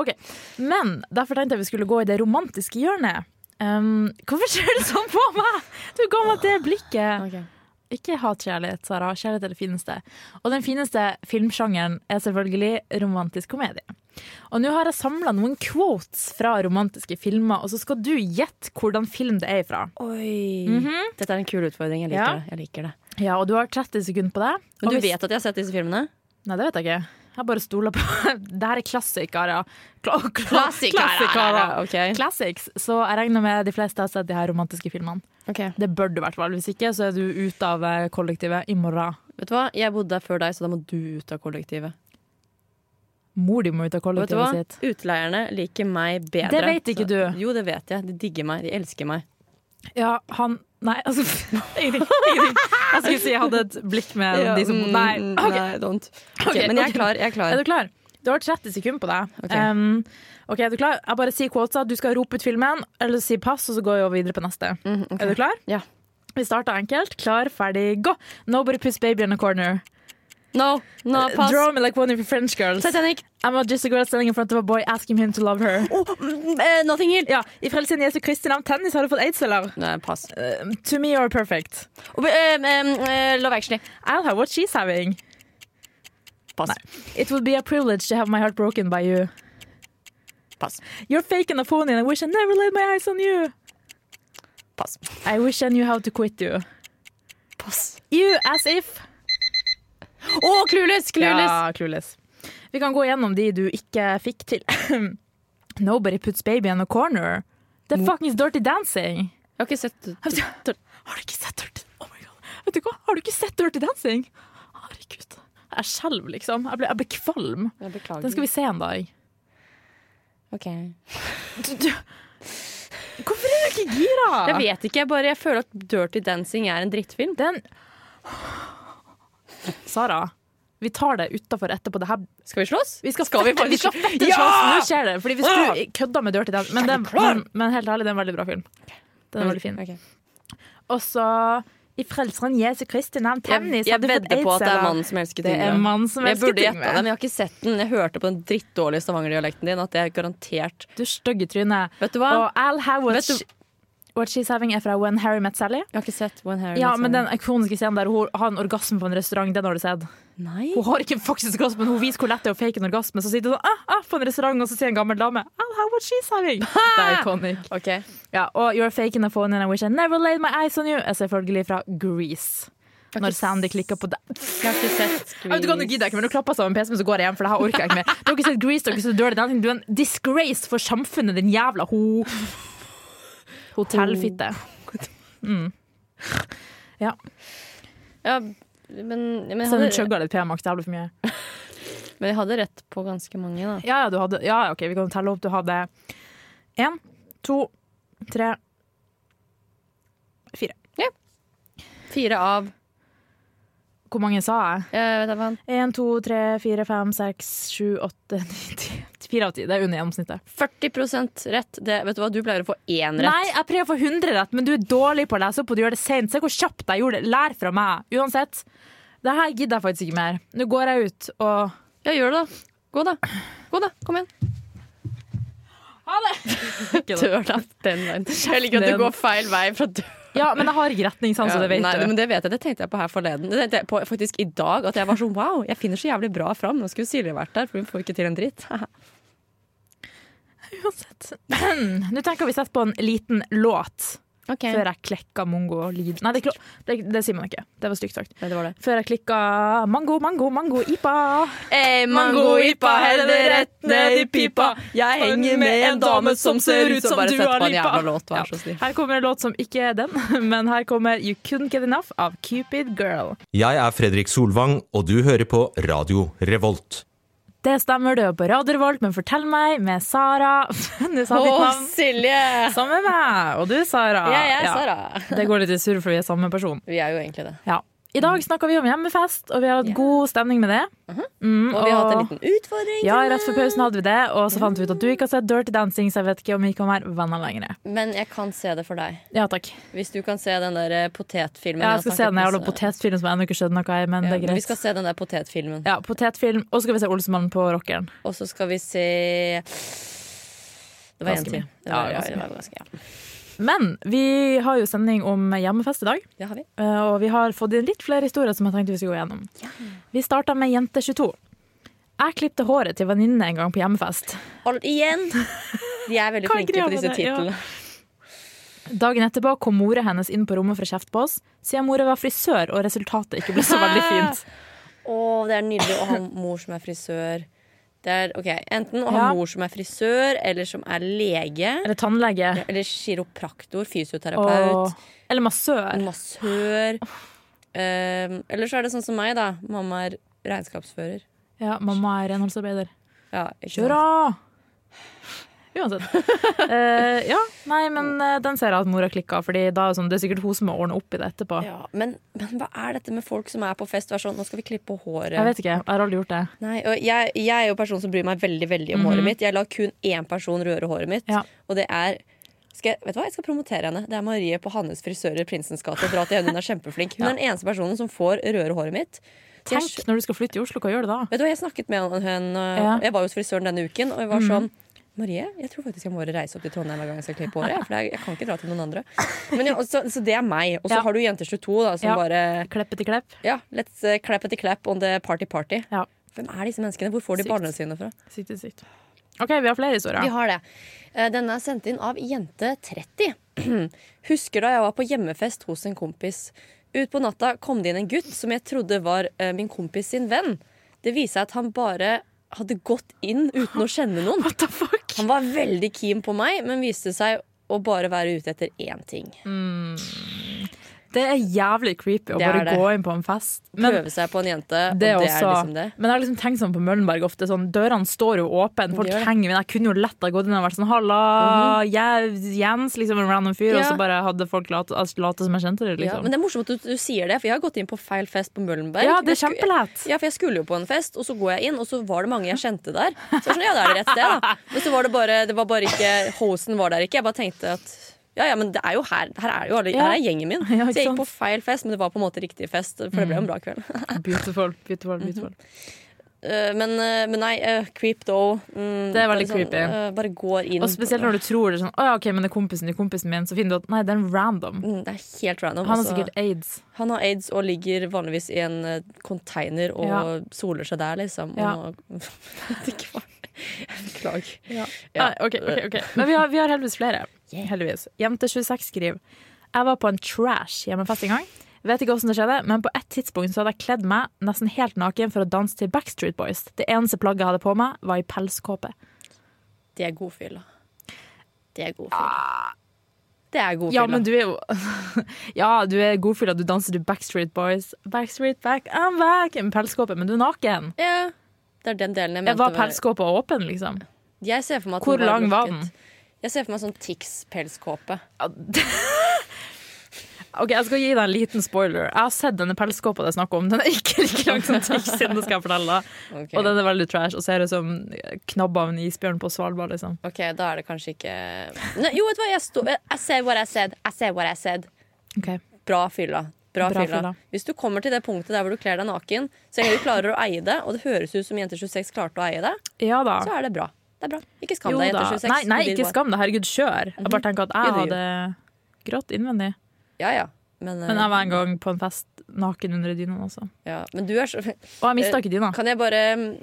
[SPEAKER 4] Ok, Men derfor tenkte jeg vi skulle gå i det romantiske hjørnet. Um, hvorfor ser du sånn på meg? Du ga meg det blikket.
[SPEAKER 1] Ok.
[SPEAKER 4] Ikke hat kjærlighet, Sara. Kjærlighet er det fineste. Og den fineste filmsjangeren er selvfølgelig romantisk komedie. Og nå har jeg samla noen quotes fra romantiske filmer, og så skal du gjette hvordan film det er ifra.
[SPEAKER 1] Oi. Dette er en kul utfordring. Jeg liker
[SPEAKER 4] Ja.
[SPEAKER 1] det. Jeg liker det.
[SPEAKER 4] Ja, og du har 30 sekunder på deg. Og
[SPEAKER 1] Men du
[SPEAKER 4] hvis-
[SPEAKER 1] vet at jeg har sett disse filmene?
[SPEAKER 4] Nei, det vet jeg ikke. Jeg bare stoler på Det her er klassikere. Kla kla
[SPEAKER 1] Klassikere, ok.
[SPEAKER 4] Classics. Så jeg regner med de fleste har sett de her romantiske filmene.
[SPEAKER 1] Ok.
[SPEAKER 4] Det bør du i hvert fall. Hvis ikke, så er du ute av eh, kollektivet i morgen.
[SPEAKER 1] Vet du hva? Jeg bodde der før deg, så da må du ut av kollektivet.
[SPEAKER 4] Mor di må ut av
[SPEAKER 1] Og vet du hva?
[SPEAKER 4] kollektivet sitt.
[SPEAKER 1] Utleierne liker meg bedre.
[SPEAKER 4] Det vet ikke
[SPEAKER 1] Så-
[SPEAKER 4] du.
[SPEAKER 1] Jo, det vet jeg. De digger meg. De elsker meg.
[SPEAKER 4] Ja, han Nei, altså Ingenting. ingenting. Jeg skulle si jeg hadde et blikk med de som
[SPEAKER 1] mm,
[SPEAKER 4] Nei.
[SPEAKER 1] mm,
[SPEAKER 4] ok.
[SPEAKER 1] nei, don't. Ok,
[SPEAKER 4] Ok,
[SPEAKER 1] men jeg er
[SPEAKER 4] ok.
[SPEAKER 1] klar. Jeg er klar.
[SPEAKER 4] Er du klar? Du har 30 sekunder på deg.
[SPEAKER 1] Ok.
[SPEAKER 4] Um, ok, er du klar? Jeg bare sier quotesa. Du skal rope ut filmen, eller si pass, og så går jeg over videre på neste. Er du klar?
[SPEAKER 1] Mm, Ja.
[SPEAKER 4] Vi starter enkelt. Klar, ferdig, gå! Nobody puts baby in a corner. Eh,
[SPEAKER 1] No, no, pass.
[SPEAKER 4] Draw me like one of your French girls.
[SPEAKER 1] Titanic.
[SPEAKER 4] I'm just a girl standing in front of a boy asking him to love her.
[SPEAKER 1] Oh, mm, eh, nothing Hill.
[SPEAKER 4] Ja, I frelsen Jesu Kristi navn tennis har du fått aids-celler.
[SPEAKER 1] Nei, pass.
[SPEAKER 4] To me you're perfect.
[SPEAKER 1] Oh, eh, eh, eh, love Actually.
[SPEAKER 4] I'll have what she's having.
[SPEAKER 1] Pass.
[SPEAKER 4] It would be a privilege to have my heart broken by you.
[SPEAKER 1] Pass.
[SPEAKER 4] You're fake and a phony and I wish I never laid my eyes on you.
[SPEAKER 1] Pass.
[SPEAKER 4] I wish I knew how to quit you.
[SPEAKER 1] Pass.
[SPEAKER 4] You as if.
[SPEAKER 1] Å, clueless! Clueless!
[SPEAKER 4] Ja, clueless. Vi kan gå gjennom de du ikke fikk til. Nobody puts baby in a corner. Det er fuckings dirty dancing.
[SPEAKER 1] Jeg har ikke sett
[SPEAKER 4] Har du ikke sett Dirty Oh my god. Vet du hva? Har du ikke sett Dirty Dancing? Herregud. Jeg skjelver, liksom. Jeg blir, jeg blir kvalm.
[SPEAKER 1] Jeg beklager.
[SPEAKER 4] Den skal vi se en dag.
[SPEAKER 1] Ok.
[SPEAKER 4] Du, du. Hvorfor er du ikke gira?
[SPEAKER 1] Jeg vet ikke, jeg bare jeg føler at Dirty Dancing er en drittfilm.
[SPEAKER 4] Den Sara, vi tar det utafor etterpå. Det her
[SPEAKER 1] Skal vi slåss?
[SPEAKER 4] Vi skal, fette,
[SPEAKER 1] vi
[SPEAKER 4] vi
[SPEAKER 1] faktisk-
[SPEAKER 4] skal fette
[SPEAKER 1] Ja! Ah!
[SPEAKER 4] slåss. Nå skjer det. Fordi hvis du kødda med Dirty Dancing men, den- men, men helt ærlig, det er en veldig bra film. Den er veldig fin.
[SPEAKER 1] Ok.
[SPEAKER 4] Og så I Frelseren Jesu Kristi navn,
[SPEAKER 1] Jeg,
[SPEAKER 4] tennis
[SPEAKER 1] jeg
[SPEAKER 4] hadde fått
[SPEAKER 1] vedder på at det er
[SPEAKER 4] aids-celler.
[SPEAKER 1] mannen som elsker
[SPEAKER 4] Det
[SPEAKER 1] ting.
[SPEAKER 4] er mannen som
[SPEAKER 1] jeg
[SPEAKER 4] elsker
[SPEAKER 1] burde gjette
[SPEAKER 4] Yngve.
[SPEAKER 1] det, men jeg har ikke sett den. Jeg hørte på den drittdårlige stavangerdialekten din at det er garantert
[SPEAKER 4] Du stygge tryne.
[SPEAKER 1] Vet du hva?
[SPEAKER 4] Og I'll have what,
[SPEAKER 1] Vet du-
[SPEAKER 4] she, what she's having er fra When Harry Met Sally.
[SPEAKER 1] Jeg har ikke sett When Harry
[SPEAKER 4] Ja,
[SPEAKER 1] Met
[SPEAKER 4] men
[SPEAKER 1] Sally.
[SPEAKER 4] den ikoniske scenen der hun har en orgasme på en restaurant, den har du sett.
[SPEAKER 1] Nei.
[SPEAKER 4] Hun har ikke en faktisk orgasme, men hun viser hvor lett det er å fake en orgasme. Så sitter hun sånn, ah, ah, på en restaurant, og så sier en gammel dame I'll have what she's having. Det er ikonisk.
[SPEAKER 1] Ok.
[SPEAKER 4] Ja, og You're faking a phone and I wish I never laid my eyes on you er selvfølgelig fra Grease. Når Sandy klikker på deg.
[SPEAKER 1] Jeg har ikke sett
[SPEAKER 4] Jeg vet ikke hva, Nå gidder jeg ikke, men nå klapper jeg sammen PC-en, så går jeg hjem. For det her orker jeg ikke mer. Du har ikke sett Grease, du har ikke sett Dirty Dancing. Du er en disgrace for samfunnet, din jævla ho... Hotellfitte.
[SPEAKER 1] Ja, men, men, jeg
[SPEAKER 4] Så hun
[SPEAKER 1] hadde,
[SPEAKER 4] chugga litt P-Max jævlig for mye.
[SPEAKER 1] men jeg hadde rett på ganske mange, da.
[SPEAKER 4] Ja, ja, du hadde Ja, ja, OK, vi kan telle opp. Du hadde én, to, tre
[SPEAKER 1] Fire av
[SPEAKER 4] Hvor mange sa jeg?
[SPEAKER 1] Jeg vet da faen.
[SPEAKER 4] Én, to, tre, fire, fem, seks, sju, åtte, ni, ti Fire av ti. Det er under gjennomsnittet.
[SPEAKER 1] 40 rett. Det, vet du hva, du pleier å få én rett.
[SPEAKER 4] Nei, jeg prøver å få 100 rett, men du er dårlig på å lese opp, og du gjør det sent. Se hvor kjapt jeg gjorde det. Lær fra meg. Uansett. Det her gidder jeg faktisk ikke mer. Nå går jeg ut og
[SPEAKER 1] Ja, gjør det, da. Gå, da. Gå da, Kom igjen.
[SPEAKER 4] Ha det! ikke det.
[SPEAKER 1] Dørlapp den veien. Jeg liker at
[SPEAKER 4] ned.
[SPEAKER 1] du går feil vei fra døra.
[SPEAKER 4] Ja, men jeg har ikke retningssans, og det vet
[SPEAKER 1] Nei,
[SPEAKER 4] du.
[SPEAKER 1] men Altså, det vet jeg, det tenkte jeg på her forleden. Det tenkte jeg på faktisk i dag, at jeg var sånn wow, jeg finner så jævlig bra fram. Nå skulle Silje vært der, for hun får ikke til en dritt.
[SPEAKER 4] Uansett. Nå tenker jeg vi setter på en liten låt
[SPEAKER 1] Ok,
[SPEAKER 4] før jeg klekka mongo og lid... Nei, det, er klo- det, det sier man ikke. Det var stygt sagt.
[SPEAKER 1] Nei, det var det.
[SPEAKER 4] Før jeg klikka mango, mango, mango, ipa.
[SPEAKER 1] Ei,
[SPEAKER 4] mangoipa, hell det rett ned i pipa.
[SPEAKER 1] Jeg henger med en dame som ser ut som
[SPEAKER 4] Bare
[SPEAKER 1] du
[SPEAKER 4] sett
[SPEAKER 1] har
[SPEAKER 4] på en
[SPEAKER 1] lipa.
[SPEAKER 4] jævla låt, vær så Her kommer en låt som ikke er den, men her kommer You Couldn't Get Enough av Cupid Girl.
[SPEAKER 8] Jeg er Fredrik Solvang, og du hører på Radio Revolt.
[SPEAKER 4] Det stemmer, du er på Radio Revolt, men fortell meg med Sara. Nå sa
[SPEAKER 1] Å,
[SPEAKER 4] jeg ditt navn.
[SPEAKER 1] Silje!
[SPEAKER 4] Sammen med meg. Og du, Sara.
[SPEAKER 1] Jeg er
[SPEAKER 4] Ja.
[SPEAKER 1] Sara.
[SPEAKER 4] Det går litt i surr, for vi er samme person.
[SPEAKER 1] Vi er jo egentlig det.
[SPEAKER 4] Ja. I
[SPEAKER 1] Mm.
[SPEAKER 4] dag snakker vi om hjemmefest, og vi har hatt god stemning med det. Mm,
[SPEAKER 1] Uh-huh. Og vi har hatt en liten utfordring.
[SPEAKER 4] Ja, rett før pausen hadde vi det, og så fant vi ut at du ikke har sett Dirty Dancing, så jeg vet ikke om vi kan være venner lenger.
[SPEAKER 1] Men jeg kan se det for deg.
[SPEAKER 4] Ja, takk.
[SPEAKER 1] Hvis du kan se den der eh, potetfilmen.
[SPEAKER 4] Ja,
[SPEAKER 1] har
[SPEAKER 4] jeg skal se
[SPEAKER 1] snakket
[SPEAKER 4] den jævla
[SPEAKER 1] masse-
[SPEAKER 4] potetfilmen som jeg ennå ikke skjønner noe i, men
[SPEAKER 1] Ja,
[SPEAKER 4] det er
[SPEAKER 1] men Vi skal
[SPEAKER 4] greit.
[SPEAKER 1] se den der potetfilmen.
[SPEAKER 4] Ja, potetfilm, og så skal vi se Olsemannen på rockeren.
[SPEAKER 1] Og så skal vi se Det var
[SPEAKER 4] Ganske
[SPEAKER 1] én til.
[SPEAKER 4] mye.
[SPEAKER 1] Det var,
[SPEAKER 4] Ja,
[SPEAKER 1] ja,
[SPEAKER 4] ganske
[SPEAKER 1] det var ganske, ja.
[SPEAKER 4] Men vi har jo sending om hjemmefest i dag,
[SPEAKER 1] Det har vi.
[SPEAKER 4] eh, og vi har fått inn litt flere historier som jeg tenkte vi skulle gå gjennom. Vi starta med Jente 22. Jeg klippte håret til venninne en gang på hjemmefest.
[SPEAKER 1] Hold igjen! De er veldig
[SPEAKER 4] Hva er
[SPEAKER 1] flinke
[SPEAKER 4] greia
[SPEAKER 1] på disse
[SPEAKER 4] med det? Ja.
[SPEAKER 1] titlene.
[SPEAKER 4] Dagen etterpå kom mora hennes inn på rommet for å kjefte på oss, siden mora var frisør og resultatet ikke ble så veldig fint.
[SPEAKER 1] Å, det er nydelig å ha mor som er frisør. Det er, ok, Enten å ha
[SPEAKER 4] Ja.
[SPEAKER 1] mor som er frisør, eller som er lege,
[SPEAKER 4] Eller tannlege.
[SPEAKER 1] eller kiropraktor, fysioterapeut,
[SPEAKER 4] Og, eller massør.
[SPEAKER 1] massør. Um, eller så er det sånn som meg, da. Mamma er regnskapsfører.
[SPEAKER 4] Ja, mamma er renholdsarbeider.
[SPEAKER 1] Ja, ikke sant?
[SPEAKER 4] Hurra! Uansett. Eh, ja, nei, men eh, den ser jeg at mora klikka, Fordi da er det sånn, det er sikkert hun som må ordne opp i det etterpå.
[SPEAKER 1] Ja, men, men hva er dette med folk som er på fest og er sånn Nå skal vi klippe håret.
[SPEAKER 4] Jeg vet ikke, jeg har aldri gjort det.
[SPEAKER 1] Nei, og jeg, jeg er jo en person som bryr meg veldig veldig om håret mitt. Jeg lar kun én person røre håret mitt,
[SPEAKER 4] Mhm. Ja.
[SPEAKER 1] og det er skal jeg, vet du hva, jeg skal promotere henne. Det er Marie på Hannes frisører Prinsens gate. Dra til henne, hun er kjempeflink. Hun er den eneste personen som får røre håret mitt. Så jeg,
[SPEAKER 4] Tenk når du skal flytte i Oslo, hva gjør du da?
[SPEAKER 1] vet du hva, jeg snakket med henne øh,
[SPEAKER 4] Ja. Mhm.
[SPEAKER 1] Jeg var jo hos frisøren denne uken, og jeg var sånn Marie, jeg tror faktisk jeg må reise opp til Trondheim hver gang jeg skal klippe håret. jeg, For jeg, jeg kan ikke dra til noen andre. Men ja, og så, så det er meg. Og så
[SPEAKER 4] Ja.
[SPEAKER 1] har du Jenter 22, da, som
[SPEAKER 4] Ja.
[SPEAKER 1] bare
[SPEAKER 4] Kleppe til klepp.
[SPEAKER 1] ja, let's uh, clap at the clap on the party party.
[SPEAKER 4] Ja.
[SPEAKER 1] Hvem er disse menneskene? Hvor får de
[SPEAKER 4] Sykt.
[SPEAKER 1] barna sine fra?
[SPEAKER 4] Sykt, sykt. OK, vi har flere
[SPEAKER 1] Vi
[SPEAKER 4] historier.
[SPEAKER 1] har det. Eh, Denne er sendt inn av jente 30. Husker da jeg var på hjemmefest hos en kompis. Ut på natta kom det inn en gutt som jeg trodde var eh, min kompis sin venn. Det viser seg at han bare hadde gått inn uten å kjenne noen.
[SPEAKER 4] What the fuck?
[SPEAKER 1] Han var veldig keen på meg, men viste seg å bare være ute etter én ting.
[SPEAKER 4] Det er jævlig creepy å
[SPEAKER 1] Det er
[SPEAKER 4] bare
[SPEAKER 1] det.
[SPEAKER 4] gå inn på en fest. Men
[SPEAKER 1] Prøve seg på en jente, og
[SPEAKER 4] det er også,
[SPEAKER 1] liksom det.
[SPEAKER 4] Men jeg har liksom tenkt sånn på Møllenberg ofte. Sånn, dørene står jo åpne, folk
[SPEAKER 1] De gjør det.
[SPEAKER 4] henger men Jeg kunne jo lett ha gått inn og vært sånn 'halla, jeg, Jens', liksom en random fyr, og
[SPEAKER 1] Mhm. Ja.
[SPEAKER 4] så bare hadde folk late altså, late som jeg kjente det,
[SPEAKER 1] Ja,
[SPEAKER 4] liksom.
[SPEAKER 1] men det er morsomt at du, du sier det, for jeg har gått inn på feil fest på Møllenberg.
[SPEAKER 4] Ja, det er
[SPEAKER 1] Jeg sku-
[SPEAKER 4] kjempelett.
[SPEAKER 1] Ja, for jeg skulle jo på en fest, og så går jeg inn, og så var det mange jeg kjente der. Så jeg var sånn, ja, det er det rett sted, da. Men så var det bare, det var bare ikke, hosten var der ikke. Jeg bare tenkte at, ja, ja, men det er jo her, her er jo alle,
[SPEAKER 4] Ja.
[SPEAKER 1] her er gjengen min.
[SPEAKER 4] Ja, ikke
[SPEAKER 1] Så jeg
[SPEAKER 4] sant? Mm.
[SPEAKER 1] gikk på feil fest, men det var på en måte riktig fest, for det ble jo en bra kveld.
[SPEAKER 4] Beautiful, beautiful, beautiful.
[SPEAKER 1] Mhm. Eh, Men, eh, men nei, eh, creep though. Mm,
[SPEAKER 4] Det er veldig
[SPEAKER 1] bare sånn,
[SPEAKER 4] creepy.
[SPEAKER 1] eh, Bare går inn.
[SPEAKER 4] Og spesielt når du tror det er sånn Å ja, ok, men det er kompisen til kompisen min, så finner du at nei, det er en random.
[SPEAKER 1] Mm, Det er helt random.
[SPEAKER 4] Han har
[SPEAKER 1] altså.
[SPEAKER 4] sikkert aids.
[SPEAKER 1] Han har aids og ligger vanligvis i en eh, container og
[SPEAKER 4] Ja.
[SPEAKER 1] soler seg der, liksom.
[SPEAKER 4] Ja.
[SPEAKER 1] Og, Det er ikke var- Beklager.
[SPEAKER 4] Nei, Ah, ok, ok, ok. Men vi har, vi har heldigvis flere. Heldigvis. Jente26 skriver Jeg var på en trash hjemmefest en gang. Vet ikke hvordan det skjedde, men på et tidspunkt så hadde jeg kledd meg nesten helt naken for å danse til Backstreet Boys. Det eneste plagget jeg hadde på meg, var i pelskåpe.
[SPEAKER 1] Det er god fylla. Det er god fylla. Det er god
[SPEAKER 4] Ja,
[SPEAKER 1] fylla.
[SPEAKER 4] men du er jo Ja, du er godfylla, du danser til Backstreet Boys. Backstreet back, I'm back! Med pelskåpe, men du er naken.
[SPEAKER 1] Ja. Det er den delen jeg mente.
[SPEAKER 4] Var
[SPEAKER 1] var-
[SPEAKER 4] pelskåpa åpen, liksom?
[SPEAKER 1] Jeg ser for meg at
[SPEAKER 4] Hvor
[SPEAKER 1] den var
[SPEAKER 4] lang var
[SPEAKER 1] lukket.
[SPEAKER 4] den?
[SPEAKER 1] Jeg ser for meg sånn Tix-pelskåpe.
[SPEAKER 4] Ok, Jeg skal gi deg en liten spoiler. Jeg har sett denne pelskåpa det er snakk om. Den er ikke like lang som Tixin, det skal jeg fortelle. deg.
[SPEAKER 1] Ok.
[SPEAKER 4] Og den er veldig trash og ser ut som knabba av en isbjørn på Svalbard. liksom.
[SPEAKER 1] ok, da er det kanskje ikke Nei, Jo, vet du hva, jeg står I said what I said. I said what I said. Bra fylla. Bra,
[SPEAKER 4] Bra
[SPEAKER 1] fylla.
[SPEAKER 4] fylla.
[SPEAKER 1] Hvis du kommer til det punktet der hvor du kler deg naken, så lenge du klarer å eie det, og det høres ut som Jenter 26 klarte å eie det,
[SPEAKER 4] Ja da.
[SPEAKER 1] så er det bra. Det er bra. Ikke skam deg, jenter 26.
[SPEAKER 4] Nei, nei,
[SPEAKER 1] Hodet ditt
[SPEAKER 4] ikke
[SPEAKER 1] var-
[SPEAKER 4] skam deg. Herregud, kjør. Jeg
[SPEAKER 1] Mhm.
[SPEAKER 4] bare tenker at jeg
[SPEAKER 1] Jo, det
[SPEAKER 4] hadde grått innvendig.
[SPEAKER 1] Ja, ja. Men,
[SPEAKER 4] Men
[SPEAKER 1] eh,
[SPEAKER 4] jeg var en gang på en fest naken under dyna også.
[SPEAKER 1] ja. Men du er så
[SPEAKER 4] Og jeg mista
[SPEAKER 1] Eh,
[SPEAKER 4] ikke dyna.
[SPEAKER 1] Kan jeg bare mm,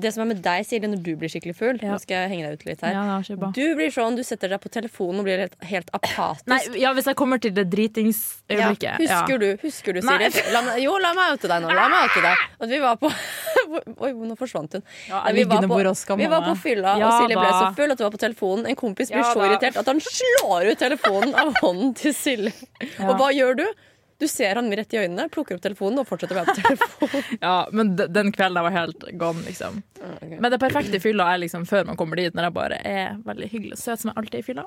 [SPEAKER 1] Det som er med deg, Silje, når du blir skikkelig full
[SPEAKER 4] Ja.
[SPEAKER 1] Nå skal jeg henge deg ut litt her.
[SPEAKER 4] Ja, det var ikke bra.
[SPEAKER 1] Du blir sånn, du setter deg på telefonen og blir helt, helt apatisk.
[SPEAKER 4] Nei, ja, hvis jeg kommer til det
[SPEAKER 1] Ja.
[SPEAKER 4] dritingsøyeblikket. Ja.
[SPEAKER 1] Husker du, husker du
[SPEAKER 4] Nei.
[SPEAKER 1] Siri? La, meg- jo, la meg oute deg nå. La meg oute deg. At vi var på Oi, nå forsvant hun.
[SPEAKER 4] Ja,
[SPEAKER 1] Nei, vi, var
[SPEAKER 4] liggende
[SPEAKER 1] på,
[SPEAKER 4] bord og skamma
[SPEAKER 1] vi var
[SPEAKER 4] meg.
[SPEAKER 1] på fylla, og
[SPEAKER 4] Ja
[SPEAKER 1] Silje ble
[SPEAKER 4] da.
[SPEAKER 1] så full at hun var på telefonen. En kompis blir
[SPEAKER 4] Ja
[SPEAKER 1] så
[SPEAKER 4] da.
[SPEAKER 1] irritert at han slår ut telefonen av hånden til Silje.
[SPEAKER 4] Ja.
[SPEAKER 1] Og hva gjør du? Du ser han rett i øynene, plukker opp telefonen og fortsetter å være på telefonen.
[SPEAKER 4] Ja, men de- den kvelden jeg var helt gone, liksom.
[SPEAKER 1] Ah,
[SPEAKER 4] Men det perfekte fylla er liksom før man kommer dit, når jeg bare er veldig hyggelig og søt som jeg alltid er i fylla.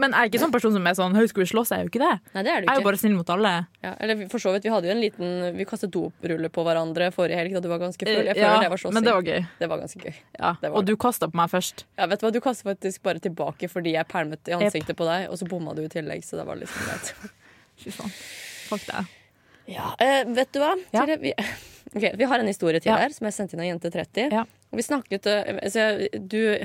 [SPEAKER 4] Men jeg er ikke sånn person som er sånn Høy, skal vi slåss? Jeg er jo ikke det.
[SPEAKER 1] Nei, det
[SPEAKER 4] Jeg
[SPEAKER 1] er du
[SPEAKER 4] er jo
[SPEAKER 1] ikke.
[SPEAKER 4] bare snill mot alle.
[SPEAKER 1] Ja, eller for så vidt, vi hadde jo en liten Vi kastet dopruller på hverandre forrige helg da du var ganske full. Jeg føler
[SPEAKER 4] Ja,
[SPEAKER 1] Eh, det var så
[SPEAKER 4] men det var
[SPEAKER 1] sykt.
[SPEAKER 4] gøy.
[SPEAKER 1] Det var ganske gøy.
[SPEAKER 4] Ja.
[SPEAKER 1] Det var
[SPEAKER 4] Og du kasta på meg først.
[SPEAKER 1] Ja, vet Du hva, du kastet faktisk bare tilbake fordi jeg pælmet i ansiktet på deg, og så bomma du i tillegg. så det var liksom greit.
[SPEAKER 4] Fy faen. Fuck det.
[SPEAKER 1] Ja, eh, vet du hva?
[SPEAKER 4] Ja.
[SPEAKER 1] Til- Vi, ok, vi har en historie til
[SPEAKER 4] Ja.
[SPEAKER 1] her, som jeg sendte inn av jente 30.
[SPEAKER 4] Ja.
[SPEAKER 1] Og vi snakket, eh, altså, du,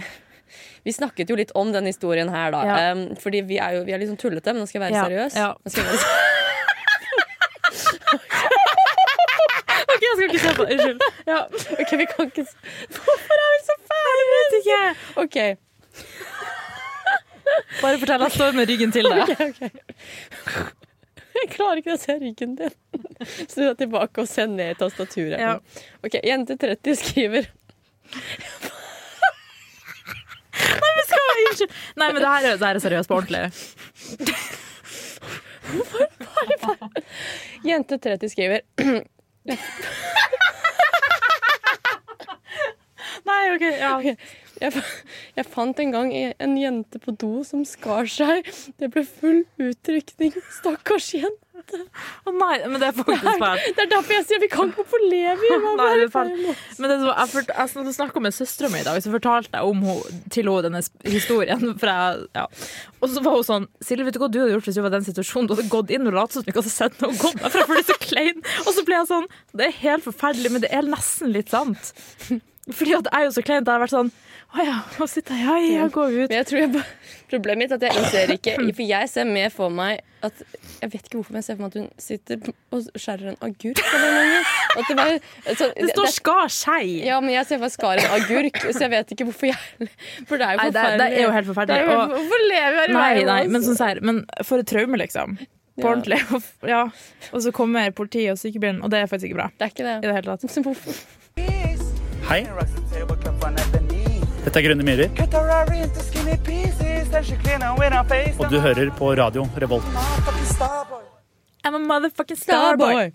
[SPEAKER 1] vi snakket jo litt om den historien her, da.
[SPEAKER 4] Ja.
[SPEAKER 1] em, fordi vi er jo vi er litt sånn tullete, men nå skal jeg være
[SPEAKER 4] Ja,
[SPEAKER 1] seriøs.
[SPEAKER 4] ja.
[SPEAKER 1] Nå skal jeg være,
[SPEAKER 4] OK, jeg skal ikke se på det. Unnskyld. Ja.
[SPEAKER 1] ok, vi kan ikke s- Hvorfor er vi så fæle?
[SPEAKER 4] Vet ikke.
[SPEAKER 1] Ok,
[SPEAKER 4] Bare fortell. Jeg står med ryggen til deg.
[SPEAKER 1] Jeg klarer ikke å se ryggen din. Snu deg tilbake og se ned i tastaturet.
[SPEAKER 4] Ja.
[SPEAKER 1] Ok, Jente 30 skriver
[SPEAKER 4] Unnskyld. Nei, men det her er, det her er seriøst på ordentlig.
[SPEAKER 1] Jente 30 skriver
[SPEAKER 4] Nei, OK. Ja.
[SPEAKER 1] Jeg, jeg fant en gang en jente på do som skar seg. Det ble full utrykning. Stakkars jente.
[SPEAKER 4] Å nei, men det er faktisk fælt.
[SPEAKER 1] Det er derfor jeg sier vi kan ikke få leve i
[SPEAKER 4] Nei, det er feil. Men det som, jeg, fort, jeg snak- snakket med søstera mi i dag, så fortalte jeg om hun, til henne denne sp- historien. For jeg, ja. Og så var hun sånn Silje, vet du hva du hadde gjort hvis du var i den situasjonen? Du hadde gått inn og latt som du ikke hadde sett noe og gått derfra, for du er så klein. Og så ble jeg sånn Det er helt forferdelig, men det er nesten litt sant. Fordi at jeg er jo så klein. at Jeg har vært sånn Å ja, nå sitter jeg Ja, ja, går vi ut.
[SPEAKER 1] Men jeg tror jeg bare, Problemet mitt er at jeg innser ikke For jeg ser mer for meg at Jeg vet ikke hvorfor, men jeg ser for meg at hun sitter og skjærer en agurk. Eller noe. lignende. At det, var, så,
[SPEAKER 4] Det står 'skar seg'.
[SPEAKER 1] Ja, men jeg ser for meg skar en agurk, så jeg vet ikke hvorfor jeg For det er jo
[SPEAKER 4] Nei, det, er- det
[SPEAKER 1] forferdelig.
[SPEAKER 4] er jo helt forferdelig.
[SPEAKER 1] Det er jo-
[SPEAKER 4] og-
[SPEAKER 1] Hvorfor lever jeg i
[SPEAKER 4] Nei,
[SPEAKER 1] verden?
[SPEAKER 4] nei, men
[SPEAKER 1] altså?
[SPEAKER 4] sånn sær, men for et traume, liksom. På
[SPEAKER 1] Ja.
[SPEAKER 4] ordentlig. Ja. Og så kommer politiet og sykebilen, og det er faktisk ikke bra.
[SPEAKER 1] Det er ikke
[SPEAKER 4] I
[SPEAKER 1] det.
[SPEAKER 4] det hele tatt.
[SPEAKER 1] Så hvorfor?
[SPEAKER 9] Hei, dette er Grønne Myhrer, og du hører på radio Revolt.
[SPEAKER 4] I'm a motherfucking starboy!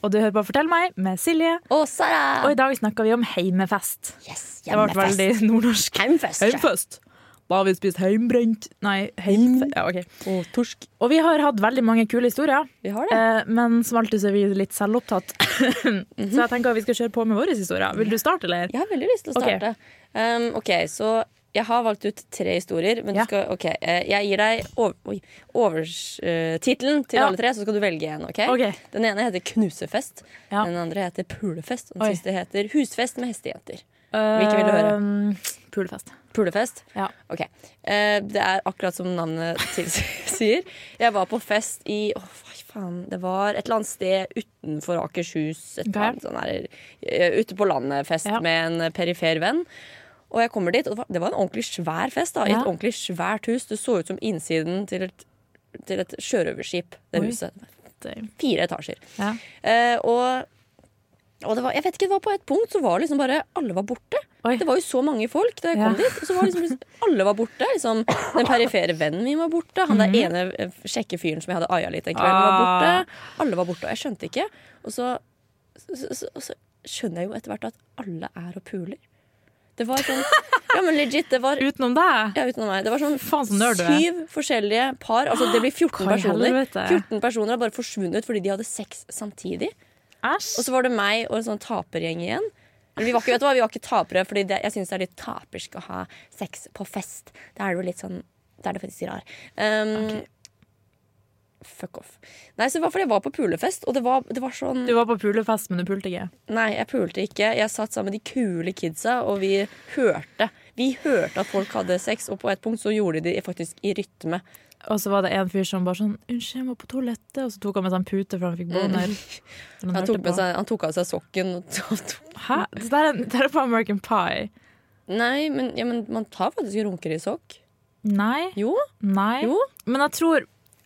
[SPEAKER 4] Og du hører på Fortell meg med Silje,
[SPEAKER 1] Å, Sara!
[SPEAKER 4] og i dag snakker vi om heimefest.
[SPEAKER 1] Yes,
[SPEAKER 4] Det ble veldig nordnorsk.
[SPEAKER 1] Heimfest.
[SPEAKER 4] Heimfest! Da har vi spist heimbrent Nei, heimfest. Ja, ok.
[SPEAKER 1] Og Mm. torsk.
[SPEAKER 4] Og vi har hatt veldig mange kule historier,
[SPEAKER 1] Vi har det.
[SPEAKER 4] eh, men som alltid så er vi litt selvopptatt.
[SPEAKER 1] Mhm.
[SPEAKER 4] Så jeg tenker at vi skal kjøre på med våre historier. Vil du starte, eller?
[SPEAKER 1] Jeg har veldig lyst til å
[SPEAKER 4] Ok.
[SPEAKER 1] starte. Um, ok, så jeg har valgt ut tre historier. Men
[SPEAKER 4] Ja.
[SPEAKER 1] du skal, ok, eh, Jeg gir deg over, oi, overs- eh, tittelen til
[SPEAKER 4] Ja.
[SPEAKER 1] alle tre, så skal du velge en. ok?
[SPEAKER 4] Ok.
[SPEAKER 1] Den ene heter Knusefest.
[SPEAKER 4] Ja.
[SPEAKER 1] Den andre heter Pulefest. Og den
[SPEAKER 4] Oi.
[SPEAKER 1] siste heter Husfest med hestejenter. Hvilken vil du høre?
[SPEAKER 4] Eh, Pulefest.
[SPEAKER 1] Pulefest?
[SPEAKER 4] Ja.
[SPEAKER 1] Ok. Eh, det er akkurat som navnet tilsier. Jeg var på fest i åh, hva faen, Det var et eller annet sted utenfor Akershus. Et
[SPEAKER 4] Ok.
[SPEAKER 1] eller annet sånn her, eh, ute på landet-fest
[SPEAKER 4] Ja.
[SPEAKER 1] med en perifer venn. Og jeg kommer dit, og det var, det var en ordentlig svær fest da, i
[SPEAKER 4] Ja.
[SPEAKER 1] et ordentlig svært hus. Det så ut som innsiden til et, til et sjørøverskip, det
[SPEAKER 4] Oi.
[SPEAKER 1] huset.
[SPEAKER 4] Damn.
[SPEAKER 1] Fire etasjer.
[SPEAKER 4] Ja.
[SPEAKER 1] Eh, og og det var, jeg vet ikke, det var på et punkt så var liksom bare alle var borte.
[SPEAKER 4] Oi.
[SPEAKER 1] Det var jo så mange folk da jeg kom dit. Og så var liksom, alle var borte. Liksom, den perifere vennen min var borte. Han der ene eh, kjekke fyren som jeg hadde aia litt den kvelden, var
[SPEAKER 4] Mhm. Ah.
[SPEAKER 1] borte. Alle var borte, og jeg skjønte ikke. Og så, så, så, og så skjønner jeg jo etter hvert at alle er og puler. Det var sånn Ja, men legit, det var
[SPEAKER 4] Utenom deg?
[SPEAKER 1] ja, utenom meg. Det var sånn
[SPEAKER 4] Faen, så nerd du er.
[SPEAKER 1] syv forskjellige par. Altså, det blir 14
[SPEAKER 4] Hva i
[SPEAKER 1] personer.
[SPEAKER 4] helvete?
[SPEAKER 1] 14 personer har bare forsvunnet fordi de hadde sex samtidig. Og
[SPEAKER 4] Æsj.
[SPEAKER 1] så var det meg og en sånn tapergjeng igjen. Eller vi var ikke, vet du hva, vi var ikke tapere, Fordi det, jeg syns det er litt tapersk å ha sex på fest. Da er det jo litt sånn Da er det faktisk rar. Um, Fuck off. Nei, så i hvert fall jeg var på pulefest, og det var, det var sånn
[SPEAKER 4] Du var på pulefest, men du pulte ikke.
[SPEAKER 1] Nei, jeg pulte ikke. Jeg satt sammen med de kule kidsa, og vi hørte Vi hørte at folk hadde sex, og på et punkt så gjorde de det faktisk i rytme.
[SPEAKER 4] Og så var det en fyr som bare sånn 'Unnskyld, jeg må på toalettet.' Og så tok han med seg en pute for han fikk boner. Eller han
[SPEAKER 1] Mm. Han tok,
[SPEAKER 4] hørte
[SPEAKER 1] med
[SPEAKER 4] på.
[SPEAKER 1] seg, han tok av seg sokken og to- tok
[SPEAKER 4] Hæ? Det der er, det der er på American Pie.
[SPEAKER 1] Nei, men, ja, men man tar faktisk runker i sokk.
[SPEAKER 4] Nei.
[SPEAKER 1] Jo.
[SPEAKER 4] Nei.
[SPEAKER 1] Jo.
[SPEAKER 4] Men jeg tror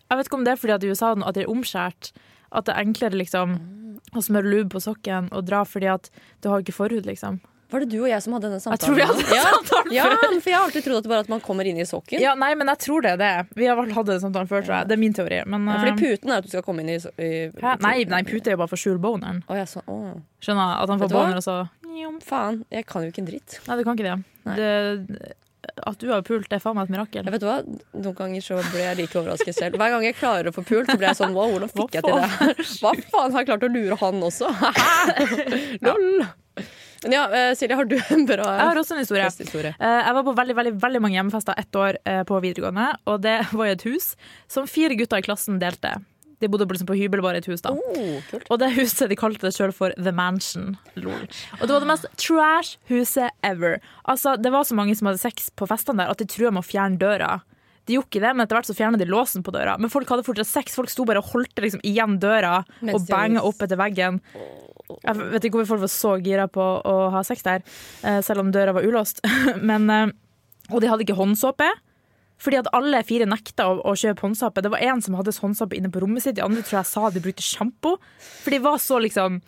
[SPEAKER 4] Jeg vet ikke om det er fordi at i USA nå at det er omskjært, at det er enklere liksom å smøre lube på sokken og dra fordi at du har ikke forhud, liksom.
[SPEAKER 1] Var det du og jeg som hadde denne samtalen?
[SPEAKER 4] tror vi hadde
[SPEAKER 1] den samtalen ja, før. Ja, men for jeg har alltid trodd at det bare er at man kommer inn i sokken.
[SPEAKER 4] Ja, nei, men jeg tror det er det. Vi har vel hatt den samtalen før, tror jeg. Det er min teori. Men,
[SPEAKER 1] Fordi
[SPEAKER 4] eh,
[SPEAKER 1] puten er at du skal komme inn i, so i
[SPEAKER 4] hæ? nei, nei, pute er jo bare for å skjule boneren.
[SPEAKER 1] Å, jeg sa, å,
[SPEAKER 4] Skjønner jeg, At han
[SPEAKER 1] Vet
[SPEAKER 4] får
[SPEAKER 1] du hva?
[SPEAKER 4] boner, og så Njom.
[SPEAKER 1] faen, jeg kan jo ikke en dritt.
[SPEAKER 4] Nei, du kan ikke det.
[SPEAKER 1] Nei.
[SPEAKER 4] det. At du har pult, det er faen meg et mirakel.
[SPEAKER 1] Jeg vet du hva, Noen ganger så blir jeg like overrasket selv. Hver gang jeg klarer å få pult, så blir jeg sånn Wow, hvordan fikk jeg til det her? Hva faen har jeg klart å lure han også? Lol. Men ja, eh, Silje, har du en bra
[SPEAKER 4] Jeg har også en historie.
[SPEAKER 1] festhistorie?
[SPEAKER 4] Eh, Jeg var på veldig, veldig, veldig mange hjemmefester ett år eh, på videregående, og det var i et hus som fire gutter i klassen delte. De bodde på- liksom på hybel bare i et hus, da.
[SPEAKER 1] Oh, kult.
[SPEAKER 4] Og det huset de kalte det sjøl for The Mansion. Lol. Og det var det mest trash huset ever. Altså, Det var så mange som hadde sex på festene der at de trua med å fjerne døra. De gjorde ikke det, men etter hvert så fjerna de låsen på døra. Men folk hadde fortsatt sex. Folk sto bare og holdt liksom igjen døra
[SPEAKER 1] Mens
[SPEAKER 4] og
[SPEAKER 1] de hadde
[SPEAKER 4] banga
[SPEAKER 1] sex.
[SPEAKER 4] opp etter veggen. Jeg vet ikke hvorfor folk var så gira på å ha sex der, eh, selv om døra var ulåst. men, eh, og de hadde ikke håndsåpe. Fordi at alle fire nekta å, å kjøpe håndsåpe. Det var én som hadde håndsåpe inne på rommet sitt, de andre tror jeg sa de brukte sjampo. For de var så liksom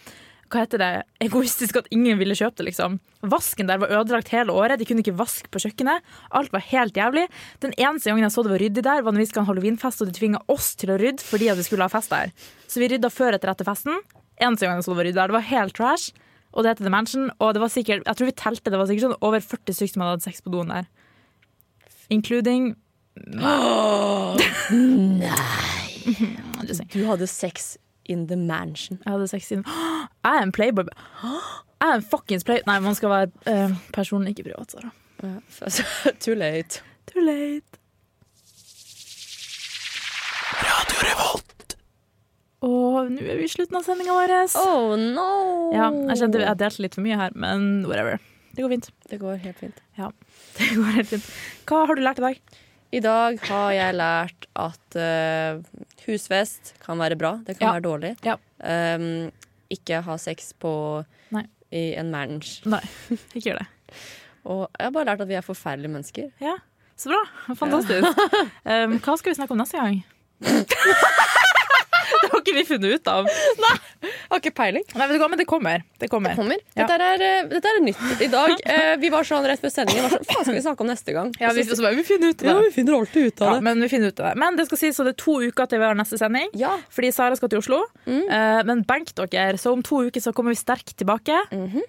[SPEAKER 4] hva heter det, egoistisk at ingen ville kjøpe det, liksom. Vasken der var ødelagt hele året, de kunne ikke vaske på kjøkkenet. Alt var helt jævlig. Den eneste gangen jeg så det var ryddig der, var når vi skulle ha en halloweenfest, og de tvinga oss til å rydde fordi at vi skulle ha fest der. Så vi rydda før etter etter festen. Eneste gangen jeg så det var ryddig der. Det var helt trash. Og det heter The Mansion, og det var sikkert, jeg tror vi telte, det var sikkert sånn over 40 stykker som hadde hatt sex på doen der. Including Nei.
[SPEAKER 1] Du hadde sex in the mansion.
[SPEAKER 4] Jeg hadde sex siden Jeg er en playboy. Jeg er en fuckings play... Nei, man skal være eh, person, ikke privat, Sara.
[SPEAKER 1] Too late.
[SPEAKER 4] Too late. Og nå er vi i slutten av sendinga vår.
[SPEAKER 1] Oh no!
[SPEAKER 4] Ja, jeg kjente jeg delte litt for mye her, men whatever. Det går fint.
[SPEAKER 1] Det går helt fint.
[SPEAKER 4] Det går helt fint. Hva har du lært i dag?
[SPEAKER 1] I dag har jeg lært at eh, husfest kan være bra, det kan
[SPEAKER 4] Ja.
[SPEAKER 1] være dårlig.
[SPEAKER 4] Ja.
[SPEAKER 1] Um, ikke ha sex på
[SPEAKER 4] Nei.
[SPEAKER 1] i en manage.
[SPEAKER 4] Nei, ikke gjør det.
[SPEAKER 1] Og jeg har bare lært at vi er forferdelige mennesker.
[SPEAKER 4] Ja, Så bra. Fantastisk. Um, hva skal vi snakke om neste gang? det har ikke vi funnet ut av.
[SPEAKER 1] Jeg har ikke peiling.
[SPEAKER 4] Nei, vet du hva, men det kommer. Det kommer.
[SPEAKER 1] Kommer.
[SPEAKER 4] Ja.
[SPEAKER 1] Dette, er, eh, dette er nytt i dag. Eh, vi var sånn rett før sendingen. Var sånn, Faen, skal vi snakke om neste gang?
[SPEAKER 4] Ja, vi,
[SPEAKER 1] Og så-
[SPEAKER 4] så bare, vi finner ut av det.
[SPEAKER 1] Ja, vi finner alltid ut
[SPEAKER 4] Ja, men vi finner ut av det. Men det skal sies at det er to uker til vi har neste sending.
[SPEAKER 1] Ja. Mm.
[SPEAKER 4] Fordi Sara skal til Oslo. Eh, men benk dere, så om to uker så kommer vi sterkt tilbake.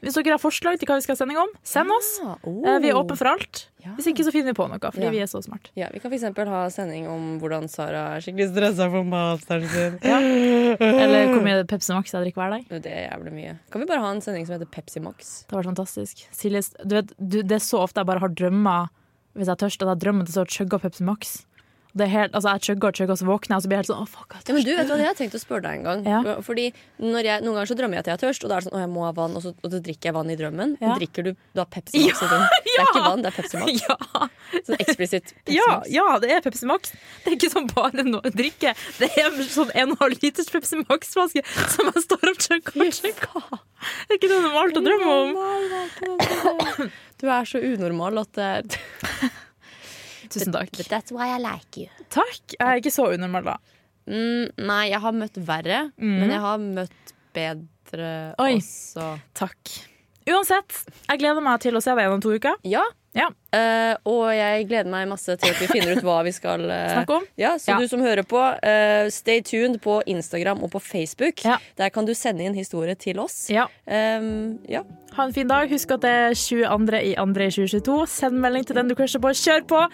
[SPEAKER 4] Hvis dere har forslag til hva vi skal ha sending om, send oss.
[SPEAKER 1] Ah,
[SPEAKER 4] Eh,
[SPEAKER 1] Mhm. oh.
[SPEAKER 4] vi er åpne for alt.
[SPEAKER 1] Ja.
[SPEAKER 4] Hvis ikke så finner vi på noe, fordi
[SPEAKER 1] Ja.
[SPEAKER 4] vi er så smart
[SPEAKER 1] Ja, vi kan f.eks. ha sending om hvordan Sara er skikkelig stressa for masteren sin.
[SPEAKER 4] Eller hvor mye Pepsi Max jeg drikker hver dag.
[SPEAKER 1] Det er jævlig mye. Kan vi bare ha en sending som heter Pepsi Max?
[SPEAKER 4] Det har vært fantastisk. Silje, du vet, du, det er så ofte jeg bare har drømmer hvis jeg er tørst, at jeg drømmer til så chugga Pepsi Max. Og Det er helt, altså, jeg chugger og chugger, og så våkner jeg, og så blir jeg helt sånn Å, fuck, jeg er
[SPEAKER 1] Ja, men du vet hva, Jeg har tenkt å spørre deg en gang.
[SPEAKER 4] Ja.
[SPEAKER 1] Fordi når jeg, Noen ganger så drømmer jeg at jeg er tørst, og da er det sånn, å, jeg må ha vann, og så, og så drikker jeg vann i drømmen.
[SPEAKER 4] Ja.
[SPEAKER 1] Men drikker du da Pepsi Max? i drømmen? Det er ikke vann, det er Pepsi Max.
[SPEAKER 4] tørst. Ja.
[SPEAKER 1] Sånn eksplisitt. Pepsi
[SPEAKER 4] Ja,
[SPEAKER 1] Max.
[SPEAKER 4] ja, det er Pepsi Max. Det er ikke sånn bare noe å drikke. Det er sånn en og en halv liters Pepsi Max-flaske som jeg står og chugger og chugger. Det er ikke noe normalt å drømme om.
[SPEAKER 1] Du er så unormal at det er
[SPEAKER 4] Tusen takk.
[SPEAKER 1] that's why I like you.
[SPEAKER 4] Takk. Jeg er ikke så unormal, da.
[SPEAKER 1] Mm, nei, jeg har møtt verre, men jeg har møtt bedre
[SPEAKER 4] Mm. Oi.
[SPEAKER 1] også.
[SPEAKER 4] Takk. Uansett, jeg gleder meg til å se deg igjen om to uker.
[SPEAKER 1] Ja.
[SPEAKER 4] Ja.
[SPEAKER 1] Eh, og jeg gleder meg masse til at vi finner ut hva vi skal eh,
[SPEAKER 4] Snakke om.
[SPEAKER 1] Ja, så
[SPEAKER 4] Ja.
[SPEAKER 1] du som hører på, eh, stay tuned på Instagram og på Facebook.
[SPEAKER 4] Ja.
[SPEAKER 1] Der kan du sende inn historie til oss.
[SPEAKER 4] Ja.
[SPEAKER 1] Ehm, ja.
[SPEAKER 4] Ha en fin dag. Husk at det er 22. i andre i 2022. Send melding til den du crusher på. Kjør på!